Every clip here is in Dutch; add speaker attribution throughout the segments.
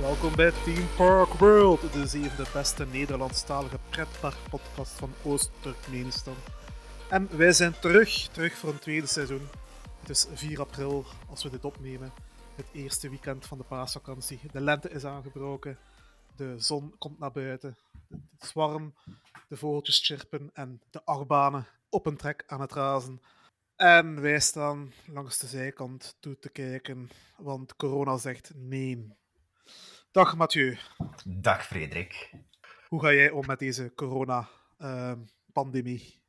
Speaker 1: Welkom bij Team Park World, de zevende beste Nederlandstalige pretparkpodcast van Oost-Turkmenistan. En wij zijn terug, terug voor een tweede seizoen. Het is 4 april als we dit opnemen. Het eerste weekend van de paasvakantie. De lente is aangebroken, de zon komt naar buiten, het is warm, de vogeltjes chirpen en de achtbanen op een trek aan het razen. En wij staan langs de zijkant toe te kijken, want corona zegt nee. Dag Mathieu,
Speaker 2: Dag Frederik.
Speaker 1: hoe ga jij om met deze ehm, corona-pandemie?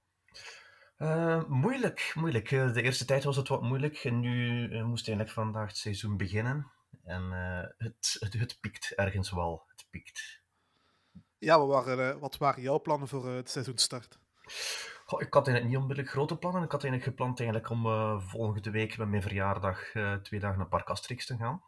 Speaker 2: Eh, moeilijk, moeilijk. Eh, De eerste tijd was het wat moeilijk en nu eh, moest eigenlijk vandaag het seizoen beginnen. En eh, het, het, het piekt ergens wel. Het piekt.
Speaker 1: ja, wat waren, eh, wat waren jouw plannen voor eh, het seizoenstart?
Speaker 2: Goh, ik had eigenlijk niet onmiddellijk grote plannen. Ik had eigenlijk gepland eigenlijk om eh, volgende week met mijn verjaardag eh, twee dagen naar Park Asterix te gaan.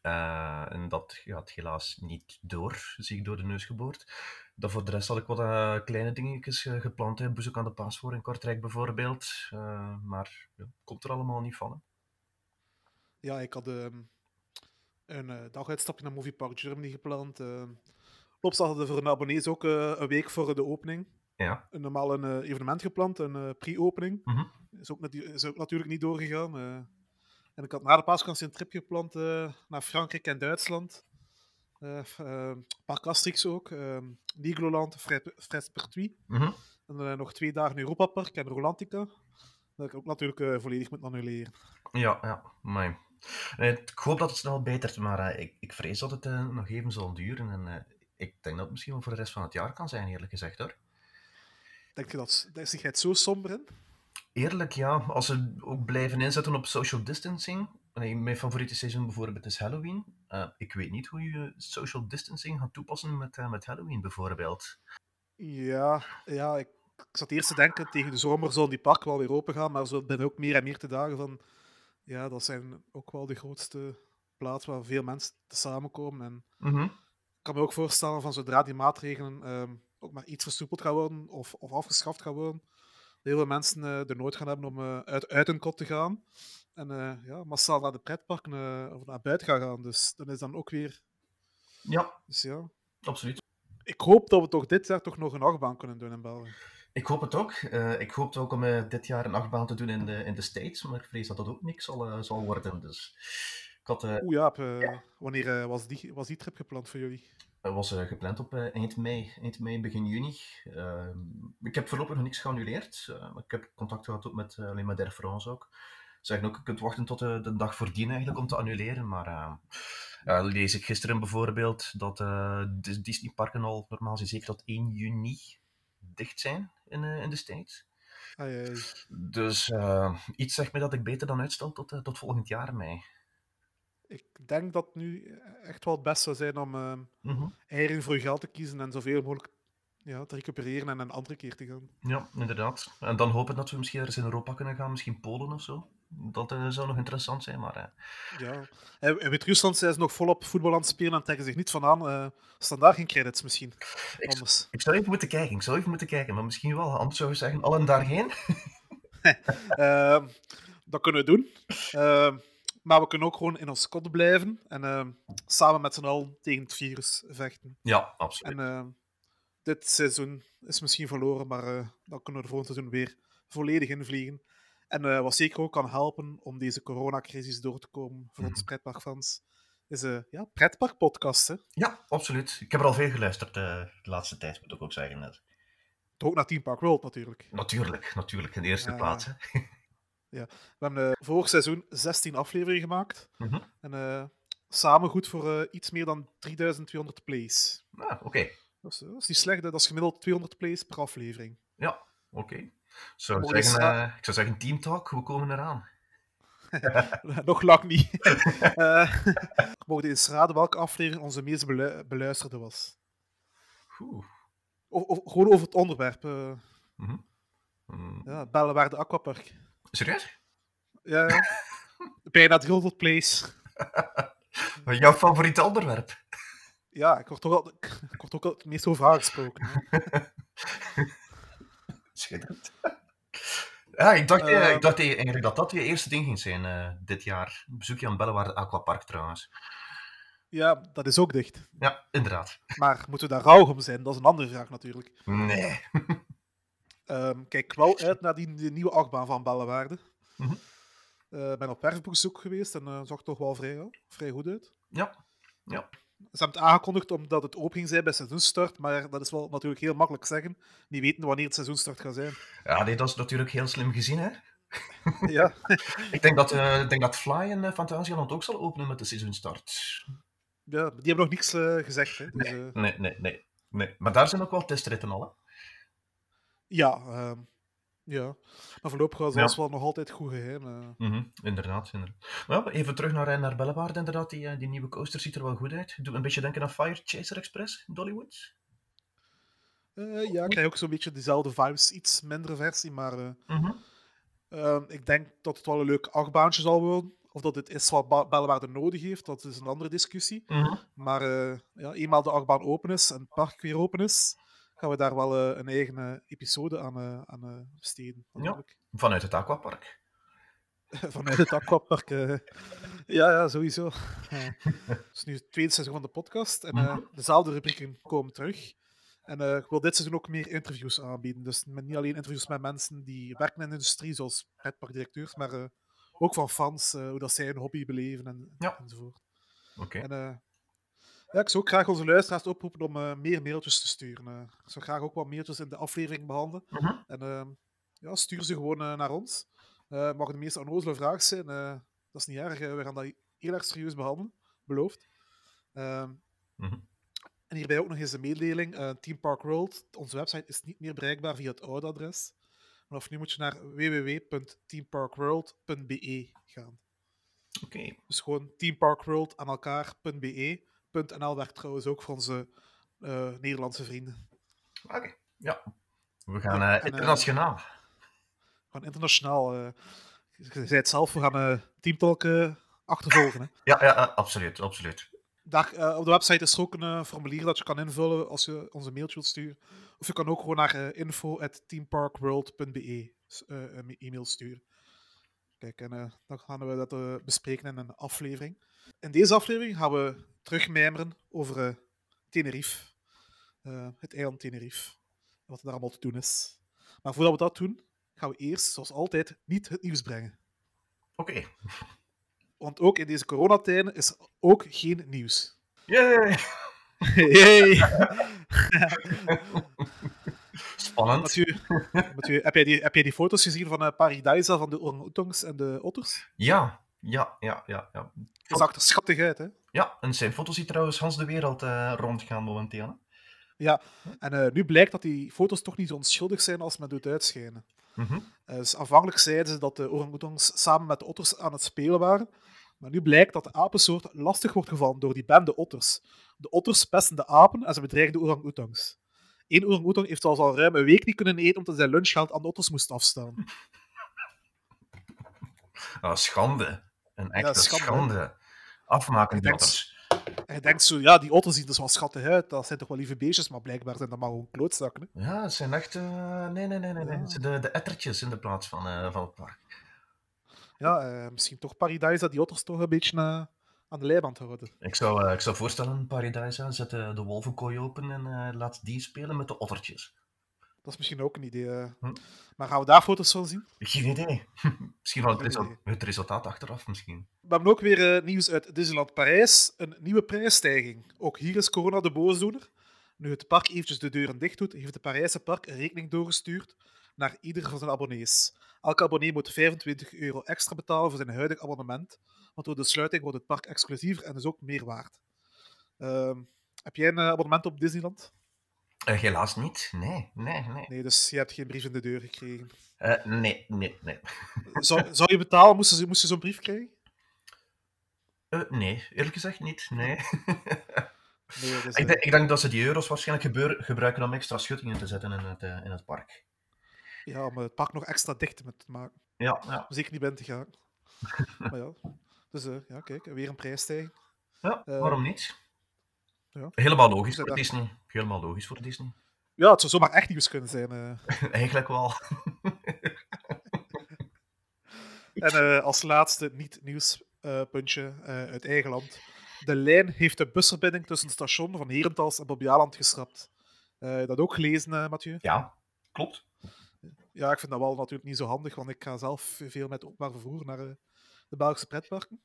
Speaker 2: Eh, en dat gaat helaas niet door, zie ik door de neus geboord. Dan voor de rest had ik wat eh, kleine dingetjes eh, gepland. Hè. Bezoek aan de Paasvoor in Kortrijk bijvoorbeeld. Eh, maar ja, komt er allemaal niet van. hè.
Speaker 1: Ja, ik had ehm, een eh, daguitstapje naar Movie Park Germany gepland. Uh, Plops hadden er voor de abonnees ook eh, een week voor de opening.
Speaker 2: Ja.
Speaker 1: Een normaal een eh, evenement gepland, een eh, pre-opening.
Speaker 2: Mhm.
Speaker 1: Is, ook natu- is ook natuurlijk niet doorgegaan. eh. en ik had na de paasvakantie een trip gepland eh, naar Frankrijk en Duitsland. Eh f- eh, Park Asterix ook. ehm Nigloland, Fre- Fres Pertuis.
Speaker 2: Mhm.
Speaker 1: En dan eh, nog twee dagen Europa Park en Rolantica. Dat ik ook natuurlijk eh, volledig moet annuleren.
Speaker 2: Ja, ja, mooi. Ik hoop dat het snel betert, maar eh, ik, ik vrees dat het eh, nog even zal duren. En eh, ik denk dat het misschien wel voor de rest van het jaar kan zijn, eerlijk gezegd hoor.
Speaker 1: Denk je dat daar is het zo somber in?
Speaker 2: Eerlijk, ja, als ze ook blijven inzetten op social distancing. Nee, Mijn favoriete seizoen bijvoorbeeld is Halloween. Eh, ik weet niet hoe je social distancing gaat toepassen met, eh, met Halloween bijvoorbeeld.
Speaker 1: Ja, ja ik, ik zat eerst te denken tegen de zomer zal die park wel weer open gaan, maar zo ben ik ook meer en meer te dagen van ja, dat zijn ook wel de grootste plaats waar veel mensen te samenkomen. En
Speaker 2: Mhm.
Speaker 1: ik kan me ook voorstellen van zodra die maatregelen ehm, ook maar iets versoepeld gaan worden of, of afgeschaft gaan worden, dat heel veel mensen eh, de nood gaan hebben om eh, uit, uit hun kot te gaan en eh, ja, massaal naar de pretparken eh, of naar buiten gaan gaan. Dus dan is dan ook weer...
Speaker 2: Ja,
Speaker 1: Dus ja,
Speaker 2: absoluut.
Speaker 1: ik hoop dat we toch dit jaar toch nog een achtbaan kunnen doen in België.
Speaker 2: Ik hoop het ook. Eh, ik hoop ook om eh, dit jaar een achtbaan te doen in de, in de States, maar ik vrees dat dat ook niks zal, eh, zal worden. Dus ik had eh,
Speaker 1: Oeh ja, wanneer eh, was, die, was die trip gepland voor jullie?
Speaker 2: Dat was eh, gepland op eh, eind mei, eind mei, begin juni. Ehm, ik heb voorlopig nog niks geannuleerd. eh, maar ik heb contact gehad ook met eh, alleen maar Air France ook. Ze zeggen ook, je kunt wachten tot eh, de dag voordien eigenlijk om te annuleren. Maar eh, ja, lees ik gisteren bijvoorbeeld dat eh, de Disneyparken al normaal zijn zeker tot 1 juni dicht zijn in, eh, in de States.
Speaker 1: Ai, ai.
Speaker 2: Dus eh, iets zegt mij dat ik beter dan uitstel tot, eh, tot volgend jaar mei.
Speaker 1: Ik denk dat het nu eh, echt wel het best zou zijn om eh
Speaker 2: Mhm.
Speaker 1: eieren voor je geld te kiezen en zoveel mogelijk ja, te recupereren en een andere keer te gaan.
Speaker 2: Ja, inderdaad. En dan hopen dat we misschien ergens in Europa kunnen gaan, misschien Polen of zo. Dat eh, zou nog interessant zijn, maar... eh,
Speaker 1: Ja. En en met Rusland zijn ze nog volop voetbal aan het spelen en trekken zich niet van aan. eh staan daar geen credits misschien?
Speaker 2: ik, z-
Speaker 1: Anders.
Speaker 2: ik zou even moeten kijken, ik zou even moeten kijken, maar misschien wel. Anders zou je zeggen, allen daarheen.
Speaker 1: Ehm, dat kunnen we doen. Ehm, maar we kunnen ook gewoon in ons kot blijven en ehm, samen met z'n allen tegen het virus vechten.
Speaker 2: Ja, absoluut.
Speaker 1: En ehm, dit seizoen is misschien verloren, maar eh, dan kunnen we er volgend seizoen weer volledig in vliegen. En eh, wat zeker ook kan helpen om deze coronacrisis door te komen voor ons
Speaker 2: Mhm.
Speaker 1: pretparkfans, is eh ja, pretparkpodcast. Hè.
Speaker 2: Ja, absoluut. Ik heb er al veel geluisterd eh, de laatste tijd, moet ik ook zeggen. net.
Speaker 1: Ook naar Team Park World natuurlijk.
Speaker 2: Natuurlijk, natuurlijk, in de eerste
Speaker 1: Ah.
Speaker 2: plaats. hè.
Speaker 1: We hebben eh, vorig seizoen 16 afleveringen gemaakt.
Speaker 2: Mhm.
Speaker 1: En eh, samen goed voor eh, iets meer dan 3200 plays.
Speaker 2: Ah, oké.
Speaker 1: Dat is, eh, dat is niet slecht, hè. dat is gemiddeld 200 plays per aflevering.
Speaker 2: Ja, oké. Ik zou
Speaker 1: Mooi
Speaker 2: zeggen,
Speaker 1: sla-
Speaker 2: eh, ik zou zeggen, Team Talk, we komen eraan.
Speaker 1: Nog lang niet. Eh ik mocht eens raden welke aflevering onze meest belu- beluisterde was.
Speaker 2: Oeh.
Speaker 1: Of, of- gewoon over het onderwerp. eh
Speaker 2: Mhm. Mm.
Speaker 1: ja, Bellenwaarde Aquapark.
Speaker 2: Serieus?
Speaker 1: Ja, ja. bijna 300 plays.
Speaker 2: Jouw favoriete onderwerp?
Speaker 1: Ja, ik word toch al, ik word ook al het meest over aangesproken. hè.
Speaker 2: Schitterend. Ja, ik dacht, eh,
Speaker 1: Ehm.
Speaker 2: ik dacht eigenlijk dat dat je eerste ding ging zijn eh, dit jaar. Bezoekje aan Bellewaarde Aquapark trouwens.
Speaker 1: Ja, dat is ook dicht.
Speaker 2: Ja, inderdaad.
Speaker 1: Maar moeten we daar rauw om zijn? Dat is een andere vraag natuurlijk.
Speaker 2: Nee.
Speaker 1: Ehm, kijk wel uit naar die, die nieuwe achtbaan van Bellewaarde.
Speaker 2: Mhm.
Speaker 1: Eh, ben op werfbezoek geweest en eh, zag er toch wel vrij, vrij goed uit.
Speaker 2: Ja. Ja.
Speaker 1: Ze hebben het aangekondigd omdat het opening zijn bij seizoenstart, maar dat is wel natuurlijk heel makkelijk zeggen. Die weten wanneer het seizoenstart gaat zijn.
Speaker 2: Ja, dit is natuurlijk heel slim gezien, hè?
Speaker 1: ja,
Speaker 2: Ik denk dat, eh, ik denk dat Fly en eh, Fantasieland ook zal openen met de seizoenstart.
Speaker 1: ja, die hebben nog niks eh, gezegd. Hè. Dus, eh,
Speaker 2: Nee, nee, nee. nee. Maar daar zijn ook wel testritten al, hè?
Speaker 1: ja, ehm, ja, maar voorlopig was
Speaker 2: Ja.
Speaker 1: alles wel nog altijd goed geheim. eh.
Speaker 2: Mhm, inderdaad. inderdaad. Maar ja, even terug naar, eh, naar Bellewaarde, inderdaad. Die, eh, die nieuwe coaster ziet er wel goed uit. Doe een beetje denken aan Fire Chaser Express in Dollywood.
Speaker 1: Eh, ja, ik krijg ook zo'n beetje dezelfde vibes, iets mindere versie, maar... eh,
Speaker 2: Mhm.
Speaker 1: Ehm, ik denk dat het wel een leuk achtbaantje zal worden. Of dat het is wat Ba- Bellewaarde nodig heeft, dat is een andere discussie.
Speaker 2: Mhm.
Speaker 1: Maar eh, ja, eenmaal de achtbaan open is en het park weer open is, gaan we daar wel eh, een eigen eh, episode aan, eh, aan eh, besteden. natuurlijk.
Speaker 2: Vanuit het aquapark.
Speaker 1: Vanuit het aquapark. eh, ja, ja, sowieso. Eh, Het is nu het tweede seizoen van de podcast en eh,
Speaker 2: Mhm.
Speaker 1: dezelfde rubrieken komen terug. En eh, ik wil dit seizoen ook meer interviews aanbieden. Dus met, niet alleen interviews met mensen die werken in de industrie, zoals pretparkdirecteurs, maar eh, ook van fans, eh, hoe dat zij hun hobby beleven en,
Speaker 2: Ja.
Speaker 1: enzovoort.
Speaker 2: Oké.
Speaker 1: En, eh, ja, ik zou ook graag onze luisteraars oproepen om eh, meer mailtjes te sturen. eh. ik zou graag ook wat mailtjes in de aflevering behandelen.
Speaker 2: Mhm.
Speaker 1: En ehm, ja, stuur ze gewoon eh, naar ons. Eh mag de meest onnozele vraag zijn. eh, dat is niet erg. eh, we gaan dat heel erg serieus behandelen. Beloofd. Ehm,
Speaker 2: Mhm.
Speaker 1: En hierbij ook nog eens een mededeling. eh, Team Park World, onze website, is niet meer bereikbaar via het oude adres. Vanaf nu moet je naar www.teamparkworld.be gaan.
Speaker 2: Oké.
Speaker 1: Dus gewoon Team Park World aan elkaar.be. .nl werkt trouwens ook voor onze eh, Nederlandse vrienden.
Speaker 2: Oké. Ja. We gaan
Speaker 1: Ja,
Speaker 2: eh,
Speaker 1: en, eh,
Speaker 2: internationaal.
Speaker 1: Gewoon internationaal. eh, je zei het zelf, we gaan eh Teamtalk eh, achtervolgen. Hè.
Speaker 2: Ja, ja, eh, absoluut. absoluut.
Speaker 1: Daar, eh, op de website is er ook een eh, formulier dat je kan invullen als je onze mailtje wilt sturen. Of je kan ook gewoon naar eh, info.teamparkworld.be s- eh, een e-mail sturen. Kijk, en eh, dan gaan we dat eh, bespreken in een aflevering. In deze aflevering gaan we terugmijmeren over eh, Tenerife. Eh, het eiland Tenerife. En wat er daar allemaal te doen is. Maar voordat we dat doen, gaan we eerst, zoals altijd, niet het nieuws brengen.
Speaker 2: Oké.
Speaker 1: Want ook in deze coronatijden is er ook geen nieuws.
Speaker 2: Yay!
Speaker 1: Hey.
Speaker 2: Spannend.
Speaker 1: Mathieu, Mathieu, heb, jij die, heb jij die foto's gezien van eh, Paradisa van de orang-outangs en de otters?
Speaker 2: Ja, ja, ja, ja. Ja,
Speaker 1: Dat zag er schattig uit, hè?
Speaker 2: ja en zijn foto's die trouwens Hans de wereld eh, rondgaan momenteel. hè.
Speaker 1: En eh, nu blijkt dat die foto's toch niet zo onschuldig zijn als men doet uitschijnen.
Speaker 2: Mhm.
Speaker 1: Eh, dus aanvankelijk zeiden ze dat de orang-outangs samen met de otters aan het spelen waren. Maar nu blijkt dat de apensoort lastig wordt gevallen door die bende otters. De otters pesten de apen en ze bedreigen de orang-outangs. Eén orang-outang heeft zelfs al ruim een week niet kunnen eten omdat hij zijn lunchgeld aan de otters moest afstaan.
Speaker 2: Ah, schande. Een echte
Speaker 1: schande.
Speaker 2: schande. Afmaken
Speaker 1: Ik
Speaker 2: die
Speaker 1: denk-
Speaker 2: otters.
Speaker 1: En je denkt zo, ja, die otters zien er dus wel schattig uit, dat zijn toch wel lieve beestjes, maar blijkbaar zijn dat maar gewoon klootzakken. hè.
Speaker 2: Ja, het zijn echt... eh, nee, nee, nee, nee. nee.
Speaker 1: Ja.
Speaker 2: Het zijn de, de ettertjes in de plaats van, eh, van het park.
Speaker 1: Ja, eh, misschien toch Paradise dat die otters toch een beetje eh, aan de lijband houden.
Speaker 2: Ik zou, eh, ik zou voorstellen, Paradise, zet eh, de, de wolvenkooi open en eh, laat die spelen met de ottertjes.
Speaker 1: Dat is misschien ook een idee. eh.
Speaker 2: Hm.
Speaker 1: Maar gaan we daar foto's van zien?
Speaker 2: Geen idee. misschien wel het,
Speaker 1: Geen
Speaker 2: resul-
Speaker 1: idee.
Speaker 2: het resultaat achteraf, misschien.
Speaker 1: We hebben ook weer eh, nieuws uit Disneyland Parijs. Een nieuwe prijsstijging. Ook hier is corona de boosdoener. Nu het park eventjes de deuren dicht doet, heeft de Parijse park een rekening doorgestuurd naar ieder van zijn abonnees. Elke abonnee moet 25 euro extra betalen voor zijn huidig abonnement, want door de sluiting wordt het park exclusiever en dus ook meer waard. Ehm, heb jij een eh, abonnement op Disneyland?
Speaker 2: Eh, helaas niet. Nee, nee, nee.
Speaker 1: Nee, dus je hebt geen brief in de deur gekregen.
Speaker 2: Eh, nee, nee, nee.
Speaker 1: Zou, zou je betalen? Moest je, moest je zo'n brief krijgen?
Speaker 2: Eh, nee, eerlijk gezegd niet. Nee.
Speaker 1: Nee, dus,
Speaker 2: ik,
Speaker 1: eh,
Speaker 2: denk, ik denk dat ze die euro's waarschijnlijk gebeuren, gebruiken om extra schuttingen te zetten in het, eh, in het park.
Speaker 1: ja, om het park nog extra dicht met te maken.
Speaker 2: Ja, ja.
Speaker 1: Zeker niet bent te gaan. maar ja. Dus eh, ja, kijk, weer een prijsstijging.
Speaker 2: ja
Speaker 1: Eh,
Speaker 2: waarom niet?
Speaker 1: ja.
Speaker 2: Helemaal logisch
Speaker 1: Ze
Speaker 2: voor
Speaker 1: dacht-
Speaker 2: Disney. Helemaal logisch voor Disney.
Speaker 1: Ja, het zou zomaar echt nieuws kunnen zijn. eh.
Speaker 2: Eigenlijk wel.
Speaker 1: En eh, als laatste niet-nieuws eh, puntje eh, uit eigen land. De lijn heeft de busverbinding tussen het station van Herentals en Bobbejaanland geschrapt. Eh, dat ook gelezen, eh, Mathieu?
Speaker 2: Ja, klopt.
Speaker 1: Ja, ik vind dat wel natuurlijk niet zo handig, want ik ga zelf veel met openbaar vervoer naar eh, de Belgische pretparken.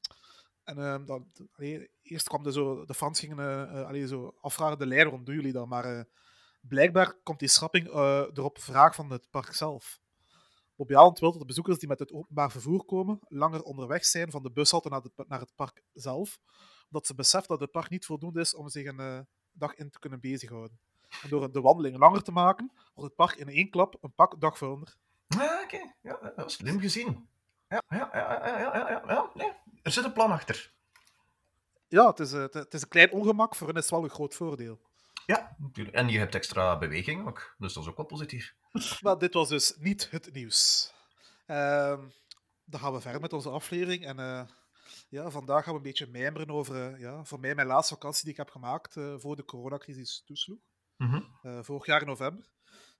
Speaker 1: En ehm, dan, allee, eerst kwam de, zo, de Frans gingen eh, eh, allee, zo afvragen, de lijn rond doen jullie dan, maar eh, blijkbaar komt die schrapping eh, er op vraag van het park zelf. Bobby Aland wil dat de bezoekers die met het openbaar vervoer komen, langer onderweg zijn van de bushalte naar, de, naar het park zelf, omdat ze beseft dat het park niet voldoende is om zich een eh, dag in te kunnen bezighouden. En door de wandeling langer te maken, wordt het park in één klap een pak dagvullender.
Speaker 2: Ah, oké. Ja, dat was slim gezien. Ja, ja, ja, ja, ja, ja, ja, ja. Nee, er zit een plan achter.
Speaker 1: Ja, het is, eh, het- het is een klein ongemak, voor hen is het wel een groot voordeel.
Speaker 2: Ja, natuurlijk. En je hebt extra beweging ook, dus dat is ook wel positief.
Speaker 1: Maar dit was dus niet het nieuws. Ehm, dan gaan we verder met onze aflevering. En eh, ja, vandaag gaan we een beetje mijmeren over eh, ja, voor mij mijn laatste vakantie die ik heb gemaakt eh, voor de coronacrisis toesloeg.
Speaker 2: Mhm.
Speaker 1: Eh, vorig jaar in november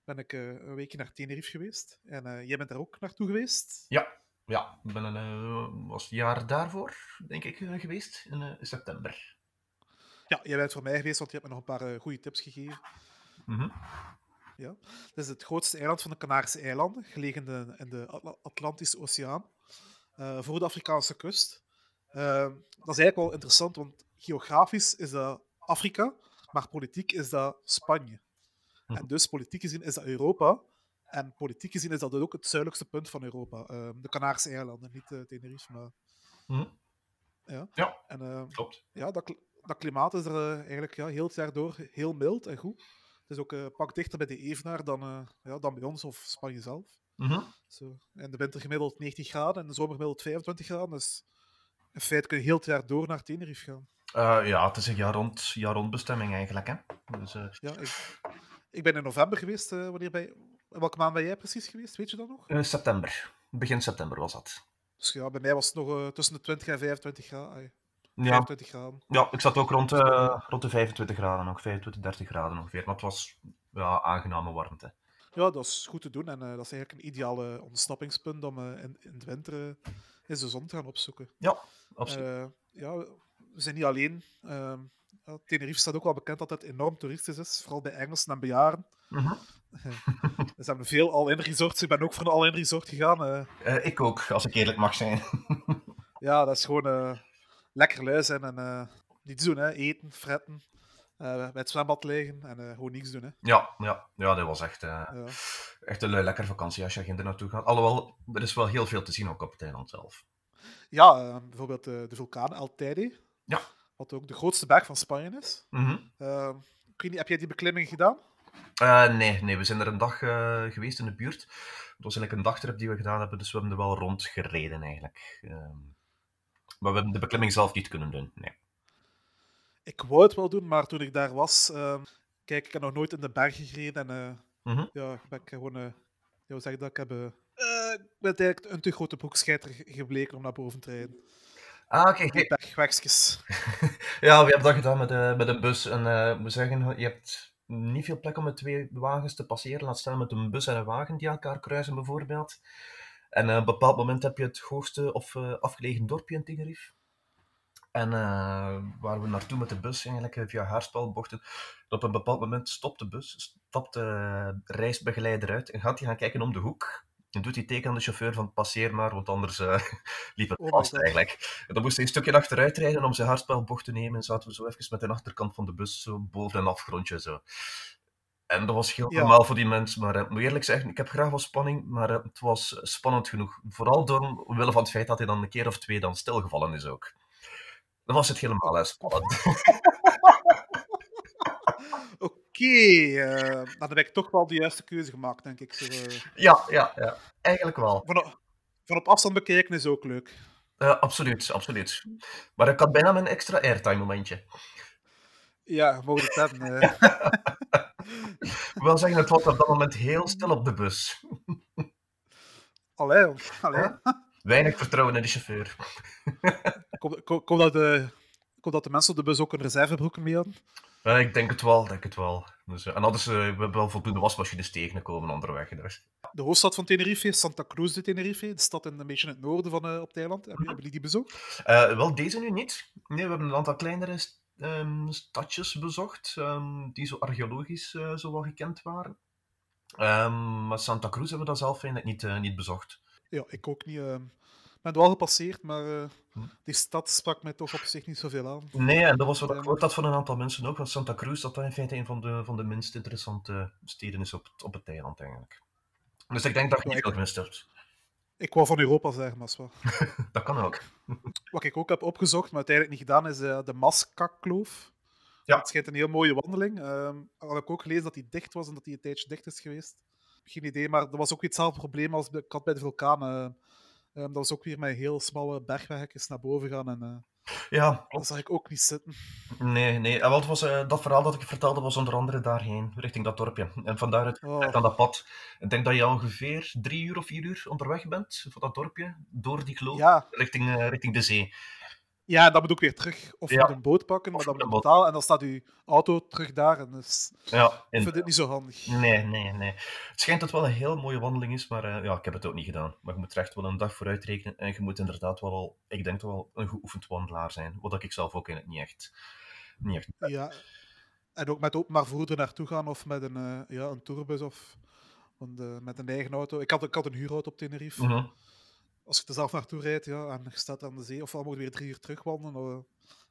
Speaker 1: ben ik eh, een weekje naar Tenerife geweest. En eh, jij bent daar ook naartoe geweest.
Speaker 2: Ja, ja. Ik ben een, eh, was het jaar daarvoor, denk ik, eh, geweest, in eh, september.
Speaker 1: Ja, jij bent voor mij geweest, want je hebt me nog een paar eh, goede tips gegeven.
Speaker 2: Mhm.
Speaker 1: Het is het grootste eiland van de Canarische eilanden, gelegen in de, in de Atla- Atlantische Oceaan, eh, voor de Afrikaanse kust. Eh, dat is eigenlijk wel interessant, want geografisch is dat Afrika, maar politiek is dat Spanje.
Speaker 2: Mhm.
Speaker 1: En dus politiek gezien is dat Europa. En politiek gezien is dat dus ook het zuidelijkste punt van Europa. eh, de Canarische eilanden, niet eh, Tenerife. Maar,
Speaker 2: Mhm.
Speaker 1: ja.
Speaker 2: Ja.
Speaker 1: En, eh,
Speaker 2: Klopt.
Speaker 1: ja, dat, kl- dat klimaat is er eh, eigenlijk ja, heel het jaar door heel mild en goed. Het is ook eh, een pak dichter bij de Evenaar dan, eh, ja, dan bij ons of Spanje zelf.
Speaker 2: Mhm.
Speaker 1: Zo. In de winter gemiddeld 19 graden en de zomer gemiddeld 25 graden. Dus in feite kun je heel het jaar door naar Tenerife gaan.
Speaker 2: Eh, ja, het is een jaar rond, jaar rond bestemming eigenlijk, hè. Dus, eh,
Speaker 1: Ja, ik, ik ben in november geweest. eh, wanneer ben je- in welke maand ben jij precies geweest? Weet je dat nog?
Speaker 2: eh, september. Begin september was dat.
Speaker 1: Dus ja, bij mij was het nog eh, tussen de 20 en 25 graden. ai,
Speaker 2: Ja,
Speaker 1: 25 graden.
Speaker 2: ja ik zat ook rond, eh, rond de 25 graden nog, 25, 30 graden ongeveer. Maar het was ja, aangename warmte.
Speaker 1: Ja, dat is goed te doen. En eh, dat is eigenlijk een ideaal eh, ontsnappingspunt om eh, in, in de winter eh, eens de zon te gaan opzoeken.
Speaker 2: Ja, absoluut.
Speaker 1: Eh, ja, we zijn niet alleen. Ehm, ja, Tenerife staat ook wel bekend dat het enorm toeristisch is, vooral bij Engelsen en bejaarden.
Speaker 2: Mhm.
Speaker 1: Er zijn veel all-in resorts. Ik ben ook voor een all-in resort gegaan. eh.
Speaker 2: Eh, ik ook, als ik eerlijk mag zijn.
Speaker 1: ja, dat is gewoon eh, lekker lui zijn en eh, niets doen. Hè. Eten, fretten, eh, bij het zwembad liggen en eh, gewoon niks doen. Hè.
Speaker 2: Ja, ja, ja dat was echt, eh,
Speaker 1: Ja.
Speaker 2: echt een lekker vakantie als je er naartoe gaat. Alhoewel, er is wel heel veel te zien ook op het eiland zelf.
Speaker 1: Ja, eh, bijvoorbeeld eh, de vulkaan El Teide.
Speaker 2: Ja.
Speaker 1: Wat ook de grootste berg van Spanje is.
Speaker 2: Mhm.
Speaker 1: Eh, ik weet niet, heb jij die beklimming gedaan?
Speaker 2: Eh, nee, nee, we zijn er een dag eh, geweest in de buurt. Het was eigenlijk een dagtrip die we gedaan hebben, dus we hebben er wel rond gereden eigenlijk. Ehm, maar we hebben de beklimming zelf niet kunnen doen. Nee.
Speaker 1: Ik wou het wel doen, maar toen ik daar was... ehm, kijk, ik heb nog nooit in de bergen gereden. En eh,
Speaker 2: Mhm.
Speaker 1: ja, ben ik gewoon... eh, ja, hoe zeg ik dat? Ik heb... eh, eh, ik ben eigenlijk een te grote broekscheiter ge- gebleken om naar boven te rijden.
Speaker 2: Ah, oké.
Speaker 1: Die
Speaker 2: oké.
Speaker 1: bergwegjes.
Speaker 2: Ja, we hebben dat gedaan met, eh, met een bus. En eh, we zeggen, je hebt niet veel plek om met twee wagens te passeren. Laat staan met een bus en een wagen die elkaar kruisen bijvoorbeeld. En eh, op een bepaald moment heb je het hoogste of eh, afgelegen dorpje in Tenerife. En eh, waar we naartoe met de bus, eigenlijk eh, via haarspelbochten. En Op een bepaald moment stopt de bus, stapt de reisbegeleider uit en gaat hij gaan kijken om de hoek. En doet hij teken aan de chauffeur van passeer maar, want anders eh, liep het
Speaker 1: Oh my
Speaker 2: vast
Speaker 1: God.
Speaker 2: eigenlijk. En dan moest hij een stukje achteruit rijden om zijn haarspelbocht te nemen. En zaten we zo even met de achterkant van de bus zo boven een afgrondje zo. En dat was heel
Speaker 1: Ja.
Speaker 2: normaal voor die mensen. Maar eh, moet eerlijk zeggen, ik heb graag wat spanning, maar eh, het was spannend genoeg. Vooral door omwille van het feit dat hij dan een keer of twee dan stilgevallen is ook. Dan was het helemaal eh, spannend.
Speaker 1: Oké, eh, nou, dan heb ik toch wel de juiste keuze gemaakt, denk ik. Zo, eh,
Speaker 2: Ja, ja, ja. Eigenlijk wel.
Speaker 1: van, op, van op afstand bekijken is ook leuk.
Speaker 2: Eh, absoluut, absoluut. Maar ik had bijna mijn extra airtime momentje.
Speaker 1: Ja, mogen het hebben. eh.
Speaker 2: Ik wil wel zeggen, het was op dat moment heel stil op de bus.
Speaker 1: Allee, jong, allee.
Speaker 2: Weinig vertrouwen in de chauffeur.
Speaker 1: Kom, kom, kom dat de Komt dat de mensen op de bus ook een reservebroeken mee hadden?
Speaker 2: Ja, Eh, ik denk het wel, denk het wel. Dus, eh, en hadden ze, we hebben wel voldoende wasmachines tegengekomen onderweg. Dus.
Speaker 1: De hoofdstad van Tenerife, Santa Cruz de Tenerife, de stad in een beetje in het noorden van eh, op het eiland. Hebben, hebben jullie die bezocht?
Speaker 2: Eh, wel, deze nu niet. Nee, we hebben een aantal kleinere st- ehm, stadjes bezocht, ehm, die zo archeologisch eh, zo wel gekend waren. Ehm, maar Santa Cruz hebben we dat zelf eigenlijk niet, eh, niet bezocht.
Speaker 1: Ja, ik ook niet. ehm. Ik ben er wel gepasseerd, maar eh,
Speaker 2: Hm.
Speaker 1: die stad sprak mij toch op zich niet zoveel aan.
Speaker 2: Nee, en dat was wat ik
Speaker 1: Ehm.
Speaker 2: gehoord had van een aantal mensen ook, want Santa Cruz dat dat in feite een van de, van de minst interessante steden is op, het- op het eiland eigenlijk. Dus ik denk dat je
Speaker 1: Ja,
Speaker 2: niet
Speaker 1: ik-
Speaker 2: veel gemist hebt.
Speaker 1: Ik wou van Europa zeggen, maar is wel.
Speaker 2: Dat kan ook.
Speaker 1: Wat ik ook heb opgezocht, maar uiteindelijk niet gedaan, is eh, de Maskakkloof.
Speaker 2: Ja.
Speaker 1: Het schijnt een heel mooie wandeling. Ehm al heb ik ook gelezen dat die dicht was en dat die een tijdje dicht is geweest. Geen idee, maar er was ook weer hetzelfde probleem als bij- ik had bij de vulkaan. eh. Ehm, dat was ook weer met heel smalle bergwegjes naar boven gaan. En, eh,
Speaker 2: Ja,
Speaker 1: dat zag ik ook niet zitten.
Speaker 2: Nee, nee. En wat was, eh, dat verhaal dat ik vertelde was onder andere daarheen, richting dat dorpje. En van daaruit
Speaker 1: Oh.
Speaker 2: aan dat pad. Ik denk dat je ongeveer drie uur of vier uur onderweg bent van dat dorpje, door die kloof,
Speaker 1: Ja,
Speaker 2: richting, eh, richting de zee.
Speaker 1: ja en dan moet ook weer terug. Of
Speaker 2: Ja.
Speaker 1: moet een boot pakken, maar
Speaker 2: Of
Speaker 1: dan moet
Speaker 2: moet een
Speaker 1: je
Speaker 2: boot.
Speaker 1: betalen. En dan staat uw auto terug daar. En dus,
Speaker 2: Ja,
Speaker 1: ik
Speaker 2: in-
Speaker 1: vind dit niet zo handig.
Speaker 2: Nee, nee, nee. Het schijnt dat het wel een heel mooie wandeling is, maar eh, ja, ik heb het ook niet gedaan. Maar je moet er echt wel een dag vooruit rekenen en je moet inderdaad wel al, ik denk toch wel, een geoefend wandelaar zijn. Wat ik zelf ook in het niet echt, niet echt
Speaker 1: Ja. En ook met openbaar voer er naartoe gaan of met een, eh, ja, een tourbus of want, eh, met een eigen auto. Ik had, ik had een huurauto op Tenerife.
Speaker 2: Mhm.
Speaker 1: Als je er zelf naartoe rijdt ja, en je staat aan de zee, of dan moet je weer drie uur terugwandelen. eh,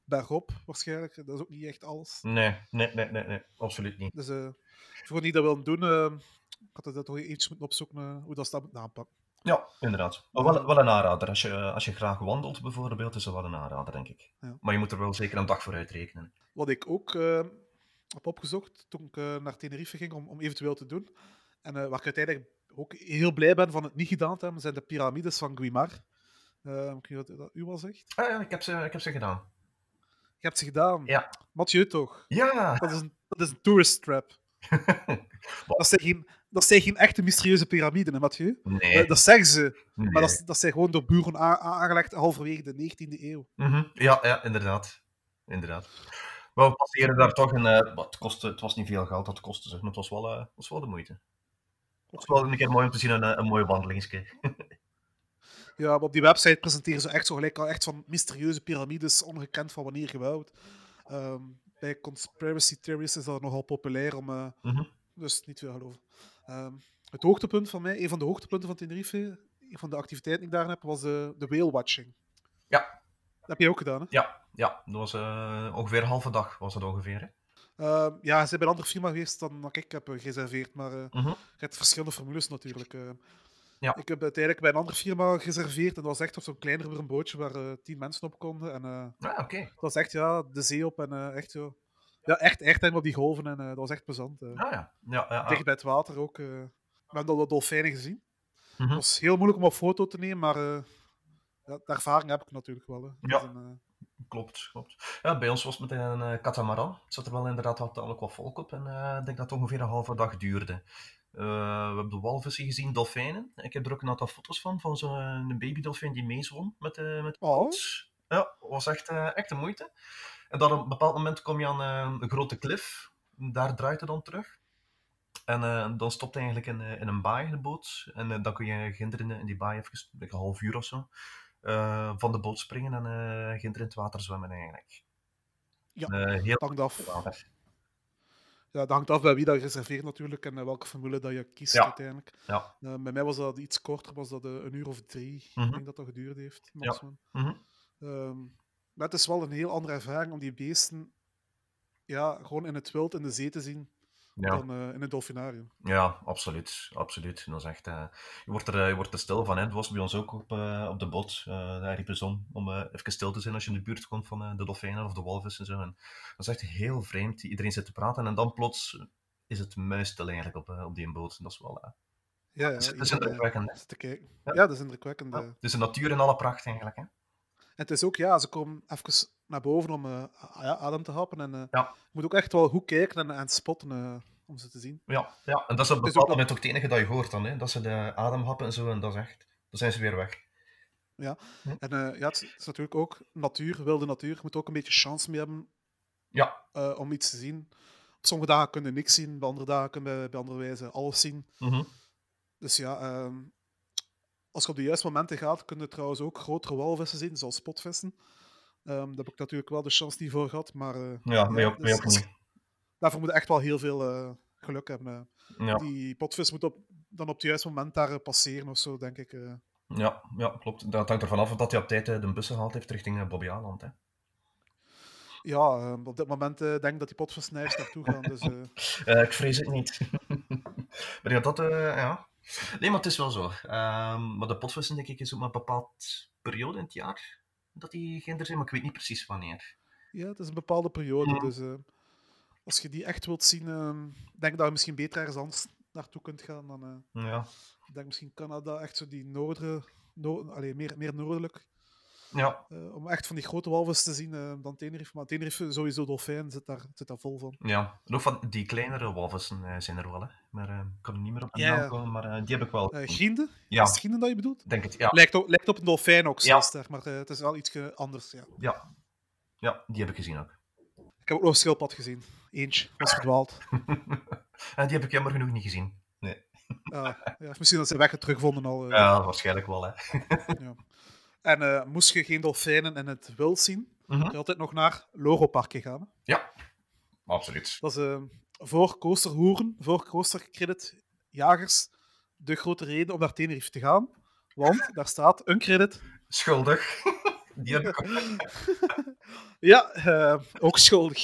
Speaker 1: bergop waarschijnlijk. Dat is ook niet echt alles.
Speaker 2: Nee, nee, nee, nee, nee, absoluut niet.
Speaker 1: Dus eh voor die dat willen doen, eh, ik had dat toch eventjes moeten opzoeken eh, hoe dat ze dat moeten aanpakken.
Speaker 2: Ja, inderdaad. Maar wel, wel een aanrader. Als je, eh, als je graag wandelt bijvoorbeeld, is dat wel een aanrader, denk ik.
Speaker 1: Ja.
Speaker 2: Maar je moet er wel zeker een dag voor uitrekenen.
Speaker 1: Wat ik ook eh, heb opgezocht toen ik eh, naar Tenerife ging om, om eventueel te doen. En eh, waar ik uiteindelijk ook heel blij ben van het niet gedaan te hebben, zijn de piramides van Guimar. Eh, ik weet niet wat dat u al zegt.
Speaker 2: Ah ja, ik heb ze, ik heb ze gedaan.
Speaker 1: Je hebt ze gedaan.
Speaker 2: Ja.
Speaker 1: Mathieu toch?
Speaker 2: Ja!
Speaker 1: Dat is een, dat is een tourist trap. Dat zijn, geen, dat zijn geen echte mysterieuze piramiden, hè, Mathieu?
Speaker 2: Nee,
Speaker 1: Eh, dat zeggen ze,
Speaker 2: nee.
Speaker 1: maar dat, is- dat zijn gewoon door boeren a- a- aangelegd halverwege de 19e eeuw.
Speaker 2: Mhm. ja, ja, inderdaad. Inderdaad. Maar we passeren daar toch een... eh, wat het, kostte, het was niet veel geld, dat kostte zeg, maar het was wel, eh, was wel de moeite. Het was wel een keer mooi om te zien, een, eh, een mooie wandelingske.
Speaker 1: Ja, maar op die website presenteren ze echt zo gelijk al echt van mysterieuze piramides, ongekend van wanneer gebouwd. Ehm, bij conspiracy theories is dat nogal populair om. eh,
Speaker 2: Mhm.
Speaker 1: Dus niet veel geloven. Ehm, het hoogtepunt van mij, een van de hoogtepunten van Tenerife, een van de activiteiten die ik daar heb, was eh, de whale watching.
Speaker 2: Ja.
Speaker 1: Dat heb je ook gedaan, hè?
Speaker 2: Ja, ja, dat was eh, ongeveer een halve dag, was dat ongeveer. Hè?
Speaker 1: Ehm, ja, ze zijn bij een andere firma geweest dan dat ik heb eh, gereserveerd, maar eh,
Speaker 2: Mhm.
Speaker 1: je hebt verschillende formules natuurlijk. eh.
Speaker 2: Ja.
Speaker 1: Ik heb uiteindelijk bij een andere firma gereserveerd en dat was echt op zo'n kleiner weer een bootje waar eh, tien mensen op konden. En, eh,
Speaker 2: Ah, oké.
Speaker 1: Het was echt ja, de zee op en eh, echt zo. Ja, echt, echt helemaal op die golven en eh, dat was echt plezant. eh.
Speaker 2: Ah ja. ja, ja, ja.
Speaker 1: Dicht bij het water ook. eh. We hebben al dolfijnen gezien.
Speaker 2: Mhm.
Speaker 1: Het was heel moeilijk om op foto te nemen, maar eh, ja, de ervaring heb ik natuurlijk wel. hè. Het
Speaker 2: Ja.
Speaker 1: is een, eh,
Speaker 2: Klopt, klopt. Ja, bij ons was het met een eh, katamaran. Er zat er wel inderdaad wat, tamelijk wat volk op. En eh, ik denk dat het ongeveer een halve dag duurde. Eh, we hebben de walvissen gezien, dolfijnen. Ik heb er ook een aantal foto's van, van zo'n eh, babydolfijn die meezwom met, de met de
Speaker 1: Oh.
Speaker 2: boot. Ja, was echt, eh, echt de moeite. En dan op een bepaald moment kom je aan eh, een grote klif. Daar draait het dan terug. En eh, dan stopt hij eigenlijk in, eh, in een baai de boot. En eh, dan kun je ginderen in die baai even, like een half uur of zo, eh, van de boot springen en eh ginder in het water zwemmen eigenlijk.
Speaker 1: Ja,
Speaker 2: Eh, heel
Speaker 1: het hangt af.
Speaker 2: water.
Speaker 1: Ja, dat hangt af bij wie dat reserveert natuurlijk en eh, welke formule dat je kiest
Speaker 2: Ja.
Speaker 1: uiteindelijk.
Speaker 2: Ja.
Speaker 1: Eh, bij mij was dat iets korter, was dat eh, een uur of drie.
Speaker 2: Mhm.
Speaker 1: Ik denk dat dat geduurd heeft. maximum.
Speaker 2: Mhm.
Speaker 1: Ehm, maar het is wel een heel andere ervaring om die beesten ja, gewoon in het wild in de zee te zien
Speaker 2: Ja.
Speaker 1: dan eh, in het dolfinarium.
Speaker 2: Ja, absoluut. absoluut. En Dat is echt, eh, je, wordt er, eh, je wordt er stil van. Hè. Het was bij ons ook op, eh, op de boot. eh daar riepen ze om, om eh, even stil te zijn als je in de buurt komt van eh, de dolfijnen of de walvissen. En zo. En dat is echt heel vreemd. Iedereen zit te praten en dan plots is het muisstil eigenlijk op, eh, op die boot. En dat is wel... eh,
Speaker 1: Ja, ja,
Speaker 2: dat is- dat is
Speaker 1: iedereen, eh,
Speaker 2: indrukwekkend. hè.
Speaker 1: zit te kijken.
Speaker 2: Ja.
Speaker 1: Ja, dat is indrukwekkend. eh.
Speaker 2: Ja. Het is de natuur in alle pracht eigenlijk. Hè.
Speaker 1: En het is ook, ja, ze komen even naar boven om eh, a- ja, adem te happen. En eh,
Speaker 2: Ja.
Speaker 1: je moet ook echt wel goed kijken en, en spotten eh, om ze te zien.
Speaker 2: Ja, ja, en dat is
Speaker 1: Het is
Speaker 2: op een bepaald
Speaker 1: ook
Speaker 2: moment ook het enige dat je hoort dan, hè? dat ze de adem happen en zo, en dat is echt, dan zijn ze weer weg.
Speaker 1: Ja.
Speaker 2: Hm.
Speaker 1: En eh, ja, het is- het is natuurlijk ook natuur, wilde natuur. Je moet ook een beetje chance mee hebben
Speaker 2: Ja.
Speaker 1: eh, om iets te zien. Op sommige dagen kun je niks zien, bij andere dagen kun je bij andere wijze alles zien.
Speaker 2: Mhm.
Speaker 1: Dus ja, ehm, als je op de juiste momenten gaat, kun je trouwens ook grotere walvissen zien, zoals spotvissen. Ehm, daar heb ik natuurlijk wel de chance niet voor gehad, maar eh,
Speaker 2: Ja, mij
Speaker 1: Ja,
Speaker 2: ook, mij
Speaker 1: dus-
Speaker 2: ook niet.
Speaker 1: daarvoor moet je echt wel heel veel eh, geluk hebben. eh.
Speaker 2: Ja.
Speaker 1: Die potvis moet op, dan op het juiste moment daar eh, passeren of zo, denk ik. eh.
Speaker 2: Ja, ja, klopt. Dat hangt ervan af of dat hij op tijd eh, de bus gehaald heeft richting eh, Bobbejaanland. Hè.
Speaker 1: Ja, ehm, op dit moment eh, denk ik dat die potvis nergens naartoe gaan. Dus, eh,
Speaker 2: Eh, ik vrees het niet. maar ja, dat, eh, ja. Nee, maar het is wel zo. Ehm, maar de potvissen, denk ik, is ook maar een bepaald periode in het jaar dat die ginder zijn, maar ik weet niet precies wanneer.
Speaker 1: ja, het is een bepaalde periode.
Speaker 2: Ja.
Speaker 1: Dus eh, als je die echt wilt zien, ehm, denk dat je misschien beter ergens anders naartoe kunt gaan dan... eh,
Speaker 2: Ja,
Speaker 1: Ik denk misschien Canada, echt zo die noordere, no allee, meer, meer noordelijk.
Speaker 2: ja,
Speaker 1: eh, om echt van die grote walvis te zien eh, dan Tenerife. Maar Tenerife, sowieso dolfijn, zit daar, zit daar vol van.
Speaker 2: ja. En ook van die kleinere walvissen eh, zijn er wel, hè. Maar eh, ik kan er niet meer op de
Speaker 1: Ja, ja.
Speaker 2: naam komen, maar eh, die heb ik wel.
Speaker 1: Eh Giende?
Speaker 2: ja,
Speaker 1: Is het Giende dat je bedoelt?
Speaker 2: denk het. Ja,
Speaker 1: Lijkt op, lijkt op een dolfijn ook,
Speaker 2: Ja.
Speaker 1: zelfs daar, maar eh, het is wel iets eh, anders. Ja.
Speaker 2: ja. ja, die heb ik gezien ook.
Speaker 1: Ik heb ook nog een schildpad gezien. Eentje, was verdwaald.
Speaker 2: en Eh, die heb ik jammer genoeg niet gezien.
Speaker 1: Ah, ja, of misschien dat ze weg terugvonden al. eh.
Speaker 2: Ja, waarschijnlijk wel, hè.
Speaker 1: ja. En eh, moest je geen dolfijnen in het wild zien,
Speaker 2: Mhm.
Speaker 1: kun je altijd nog naar Loropark gaan. hè.
Speaker 2: Ja, absoluut.
Speaker 1: Dat is eh, voor coasterhoeren, voor coastercreditjagers, de grote reden om naar Tenerife te gaan. Want daar staat een credit.
Speaker 2: Schuldig. Die heb ik ook.
Speaker 1: Ja, eh, ook schuldig.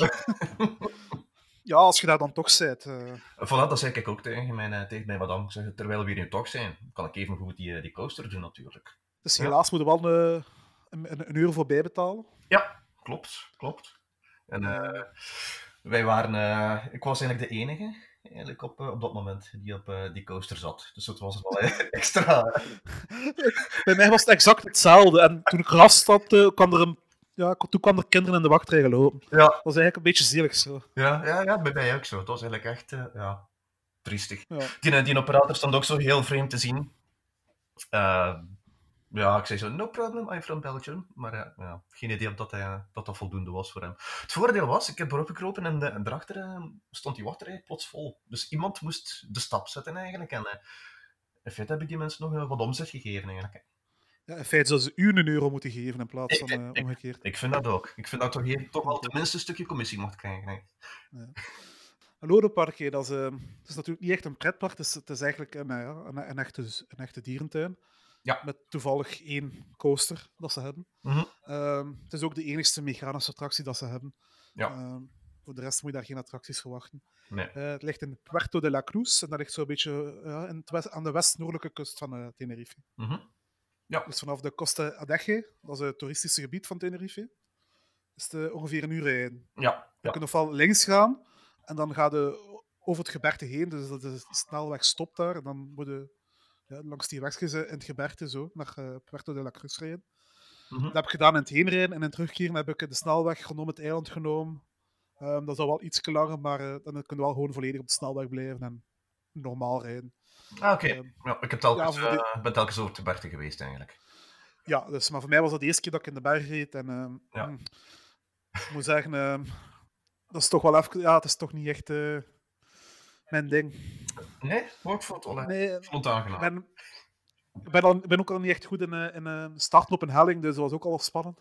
Speaker 1: ja, als je daar dan toch bent. eh.
Speaker 2: Voilà, dat zei ik ook tegen mijn, eh, tegen mijn madame. Ik zeg, terwijl we hier nu toch zijn, kan ik even goed die, eh, die coaster doen natuurlijk.
Speaker 1: dus
Speaker 2: Ja.
Speaker 1: helaas moeten we wel eh, een, een, een euro voor bijbetalen.
Speaker 2: Ja, klopt, klopt. En eh, wij waren, eh, ik was eigenlijk de enige eigenlijk op, eh, op dat moment die op eh, die coaster zat. Dus dat was wel eh, extra. eh,
Speaker 1: Bij mij was het exact hetzelfde. En toen ik eraf stapte, kwam er een, ja, toen kwam er kinderen in de wachtrij gelopen.
Speaker 2: Ja.
Speaker 1: Dat was eigenlijk een beetje zielig zo.
Speaker 2: Ja, ja, ja, bij mij ook zo. Het was eigenlijk echt, eh, ja, triestig.
Speaker 1: Ja.
Speaker 2: Die, eh, die operator stond ook zo heel vreemd te zien. Eh, ja, ik zei zo, no problem, I'm from Belgium. Maar eh, ja, geen idee of dat, hij, eh, dat dat voldoende was voor hem. Het voordeel was, ik heb erop gekropen en, de, en daarachter eh, stond die wachtrij plots vol. Dus iemand moest de stap zetten eigenlijk. En eh, in feite heb ik die mensen nog eh, wat omzet gegeven eigenlijk. hè.
Speaker 1: Ja, in feite zou ze u een euro moeten geven in plaats van
Speaker 2: Ik-
Speaker 1: eh,
Speaker 2: ik-
Speaker 1: omgekeerd.
Speaker 2: Ik vind dat ook. Ik vind dat ik toch, hier, toch wel tenminste een stukje commissie mocht krijgen. hè.
Speaker 1: Een lodepark, hè, dat is, eh, het is natuurlijk niet echt een pretpark, het is, het is eigenlijk een, eh, ja, een, een echte, een echte dierentuin.
Speaker 2: Ja.
Speaker 1: Met toevallig één coaster dat ze hebben.
Speaker 2: Mhm.
Speaker 1: Ehm, het is ook de enigste mechanische attractie dat ze hebben.
Speaker 2: Ja.
Speaker 1: Ehm, voor de rest moet je daar geen attracties verwachten.
Speaker 2: Nee.
Speaker 1: Eh, het ligt in Puerto de la Cruz en dat ligt zo'n beetje ja, in het west- aan de west-noordelijke kust van eh, Tenerife.
Speaker 2: Mhm.
Speaker 1: Dus vanaf de Costa Adeje, dat is het toeristische gebied van Tenerife, is het eh, ongeveer een uur rijden.
Speaker 2: Ja,
Speaker 1: Je
Speaker 2: ja.
Speaker 1: kunt ofwel links gaan en dan ga je over het gebergte heen. Dus dat de snelweg stopt daar. En dan moet je ja, langs die wegjes eh, in het gebergte zo naar eh, Puerto de la Cruz rijden.
Speaker 2: Mhm.
Speaker 1: Dat heb ik gedaan in het heenrijden en in het terugkeren heb ik de snelweg rondom het eiland genomen. Ehm, dat is al wel iets langer, maar eh, dan kun je wel gewoon volledig op de snelweg blijven en normaal rijden.
Speaker 2: Ah, oké.
Speaker 1: Ehm,
Speaker 2: Ja, ik heb telkens,
Speaker 1: Ja, voor de-
Speaker 2: eh, ben telkens over te Berthe geweest eigenlijk.
Speaker 1: ja, dus, maar voor mij was dat de eerste keer dat ik in de berg reed. En, ehm,
Speaker 2: Ja.
Speaker 1: hm, ik moet zeggen, ehm, dat is toch wel even... Ja, het is toch niet echt eh, mijn ding.
Speaker 2: Nee, maar ik vond het wel-
Speaker 1: Nee,
Speaker 2: ik vond het aangenaam.
Speaker 1: Ik ben, ik ben, al, ik ben ook al niet echt goed in, eh, in eh, starten op een helling, dus dat was ook al spannend.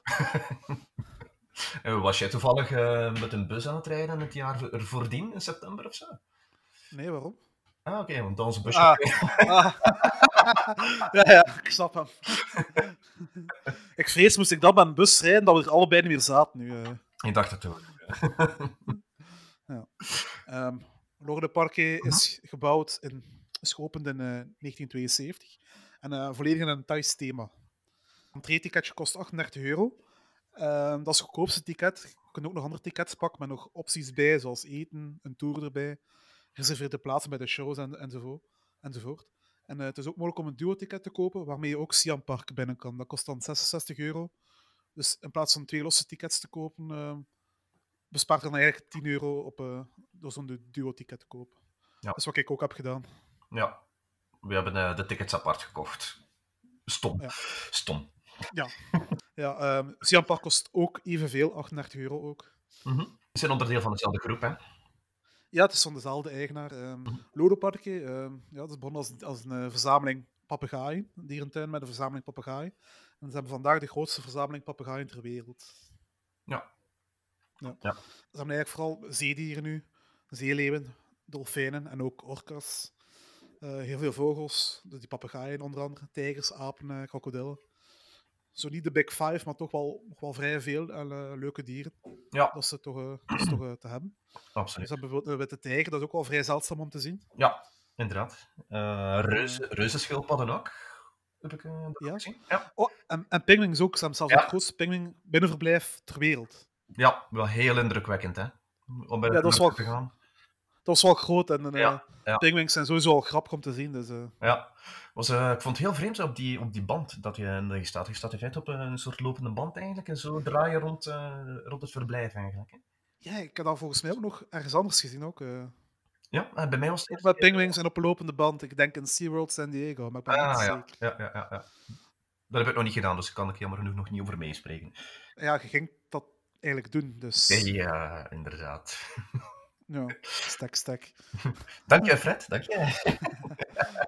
Speaker 2: Eh, Was jij toevallig eh, met een bus aan het rijden het jaar v- er voordien, in september of zo?
Speaker 1: Nee, waarom?
Speaker 2: Ah, oké, want dan onze bus...
Speaker 1: Ah, ah. ja, ja, ik snap hem. ik vrees, moest ik dan met een bus rijden, dat we er allebei niet meer zaten nu. eh.
Speaker 2: Ik dacht het toen.
Speaker 1: Ehm Lorde Parque is gebouwd in, is geopend in eh, 1972 en eh, volledig in een Thais thema. Een entree-ticketje kost 38 euro. Ehm, dat is het goedkoopste ticket. Je kunt ook nog andere tickets pakken met nog opties bij, zoals eten, een tour erbij, gereserveerde plaatsen bij de shows en, enzovoort. enzovoort. En eh, het is ook mogelijk om een duo-ticket te kopen, waarmee je ook Siam Park binnen kan. Dat kost dan 66 euro. Dus in plaats van twee losse tickets te kopen, ehm, bespaart je dan eigenlijk 10 euro op, eh, door zo'n du- duo-ticket te kopen.
Speaker 2: Ja.
Speaker 1: Dat is wat ik ook heb gedaan.
Speaker 2: Ja, we hebben eh, de tickets apart gekocht. Stom.
Speaker 1: Ja.
Speaker 2: Stom.
Speaker 1: Ja. ja ehm Siampa kost ook evenveel, 38 euro ook.
Speaker 2: Mhm. Ze zijn onderdeel van dezelfde groep, hè?
Speaker 1: Ja, het is van dezelfde eigenaar. ehm
Speaker 2: Mhm.
Speaker 1: Lodoparke, ehm, ja, dat is begonnen als, als een eh, verzameling papegaaien. Een dierentuin met een verzameling papegaaien. En ze hebben vandaag de grootste verzameling papegaaien ter wereld.
Speaker 2: Ja.
Speaker 1: ja.
Speaker 2: Ja.
Speaker 1: Ze hebben eigenlijk vooral zeedieren nu. Zeeleeuwen, dolfijnen en ook orka's. Eh, heel veel vogels, dus die papegaaien onder andere. Tijgers, apen, eh, krokodillen. Zo niet de big five, maar toch wel, nog wel vrij veel en, eh, leuke dieren.
Speaker 2: Ja,
Speaker 1: Dat is toch, eh, dat is toch eh, te hebben. Dus
Speaker 2: absoluut.
Speaker 1: dan bijvoorbeeld een witte tijger, dat is ook wel vrij zeldzaam om te zien.
Speaker 2: Ja, inderdaad. Eh reuze, reuzenschildpadden ook. Heb ik eh, dat
Speaker 1: Ehm. Ja.
Speaker 2: gezien? Ja.
Speaker 1: Oh, en, en penguins ook. Ze hebben zelfs
Speaker 2: Ja.
Speaker 1: het grootste penguin binnenverblijf ter wereld.
Speaker 2: ja, wel heel indrukwekkend, hè? Om bij
Speaker 1: Ja,
Speaker 2: de
Speaker 1: dat is
Speaker 2: plek
Speaker 1: wel-
Speaker 2: te gaan.
Speaker 1: Dat is wel groot en eh
Speaker 2: Ja, ja.
Speaker 1: penguins zijn sowieso al grappig om te zien. Dus, eh,
Speaker 2: Ja, was, eh, ik vond het heel vreemd op die, op die band dat je, dat je staat. Je staat in feite op eh, een soort lopende band eigenlijk en zo draai je rond, eh, rond het verblijf eigenlijk. Hè?
Speaker 1: ja, ik heb dat volgens mij ook nog ergens anders gezien. Ook, eh.
Speaker 2: Ja, eh, bij mij was het
Speaker 1: ook
Speaker 2: eerst-
Speaker 1: met penguins en op een lopende band. Ik denk in SeaWorld San Diego, maar ik ben niet
Speaker 2: Ah, ja.
Speaker 1: zeker.
Speaker 2: Ja, ja, ja, ja. Dat heb ik nog niet gedaan, dus daar kan ik jammer genoeg nog niet over meespreken.
Speaker 1: Ja, je ging dat eigenlijk doen, dus...
Speaker 2: Ja, inderdaad.
Speaker 1: Ja, stek, stek.
Speaker 2: Dank je, Fred. Dank je.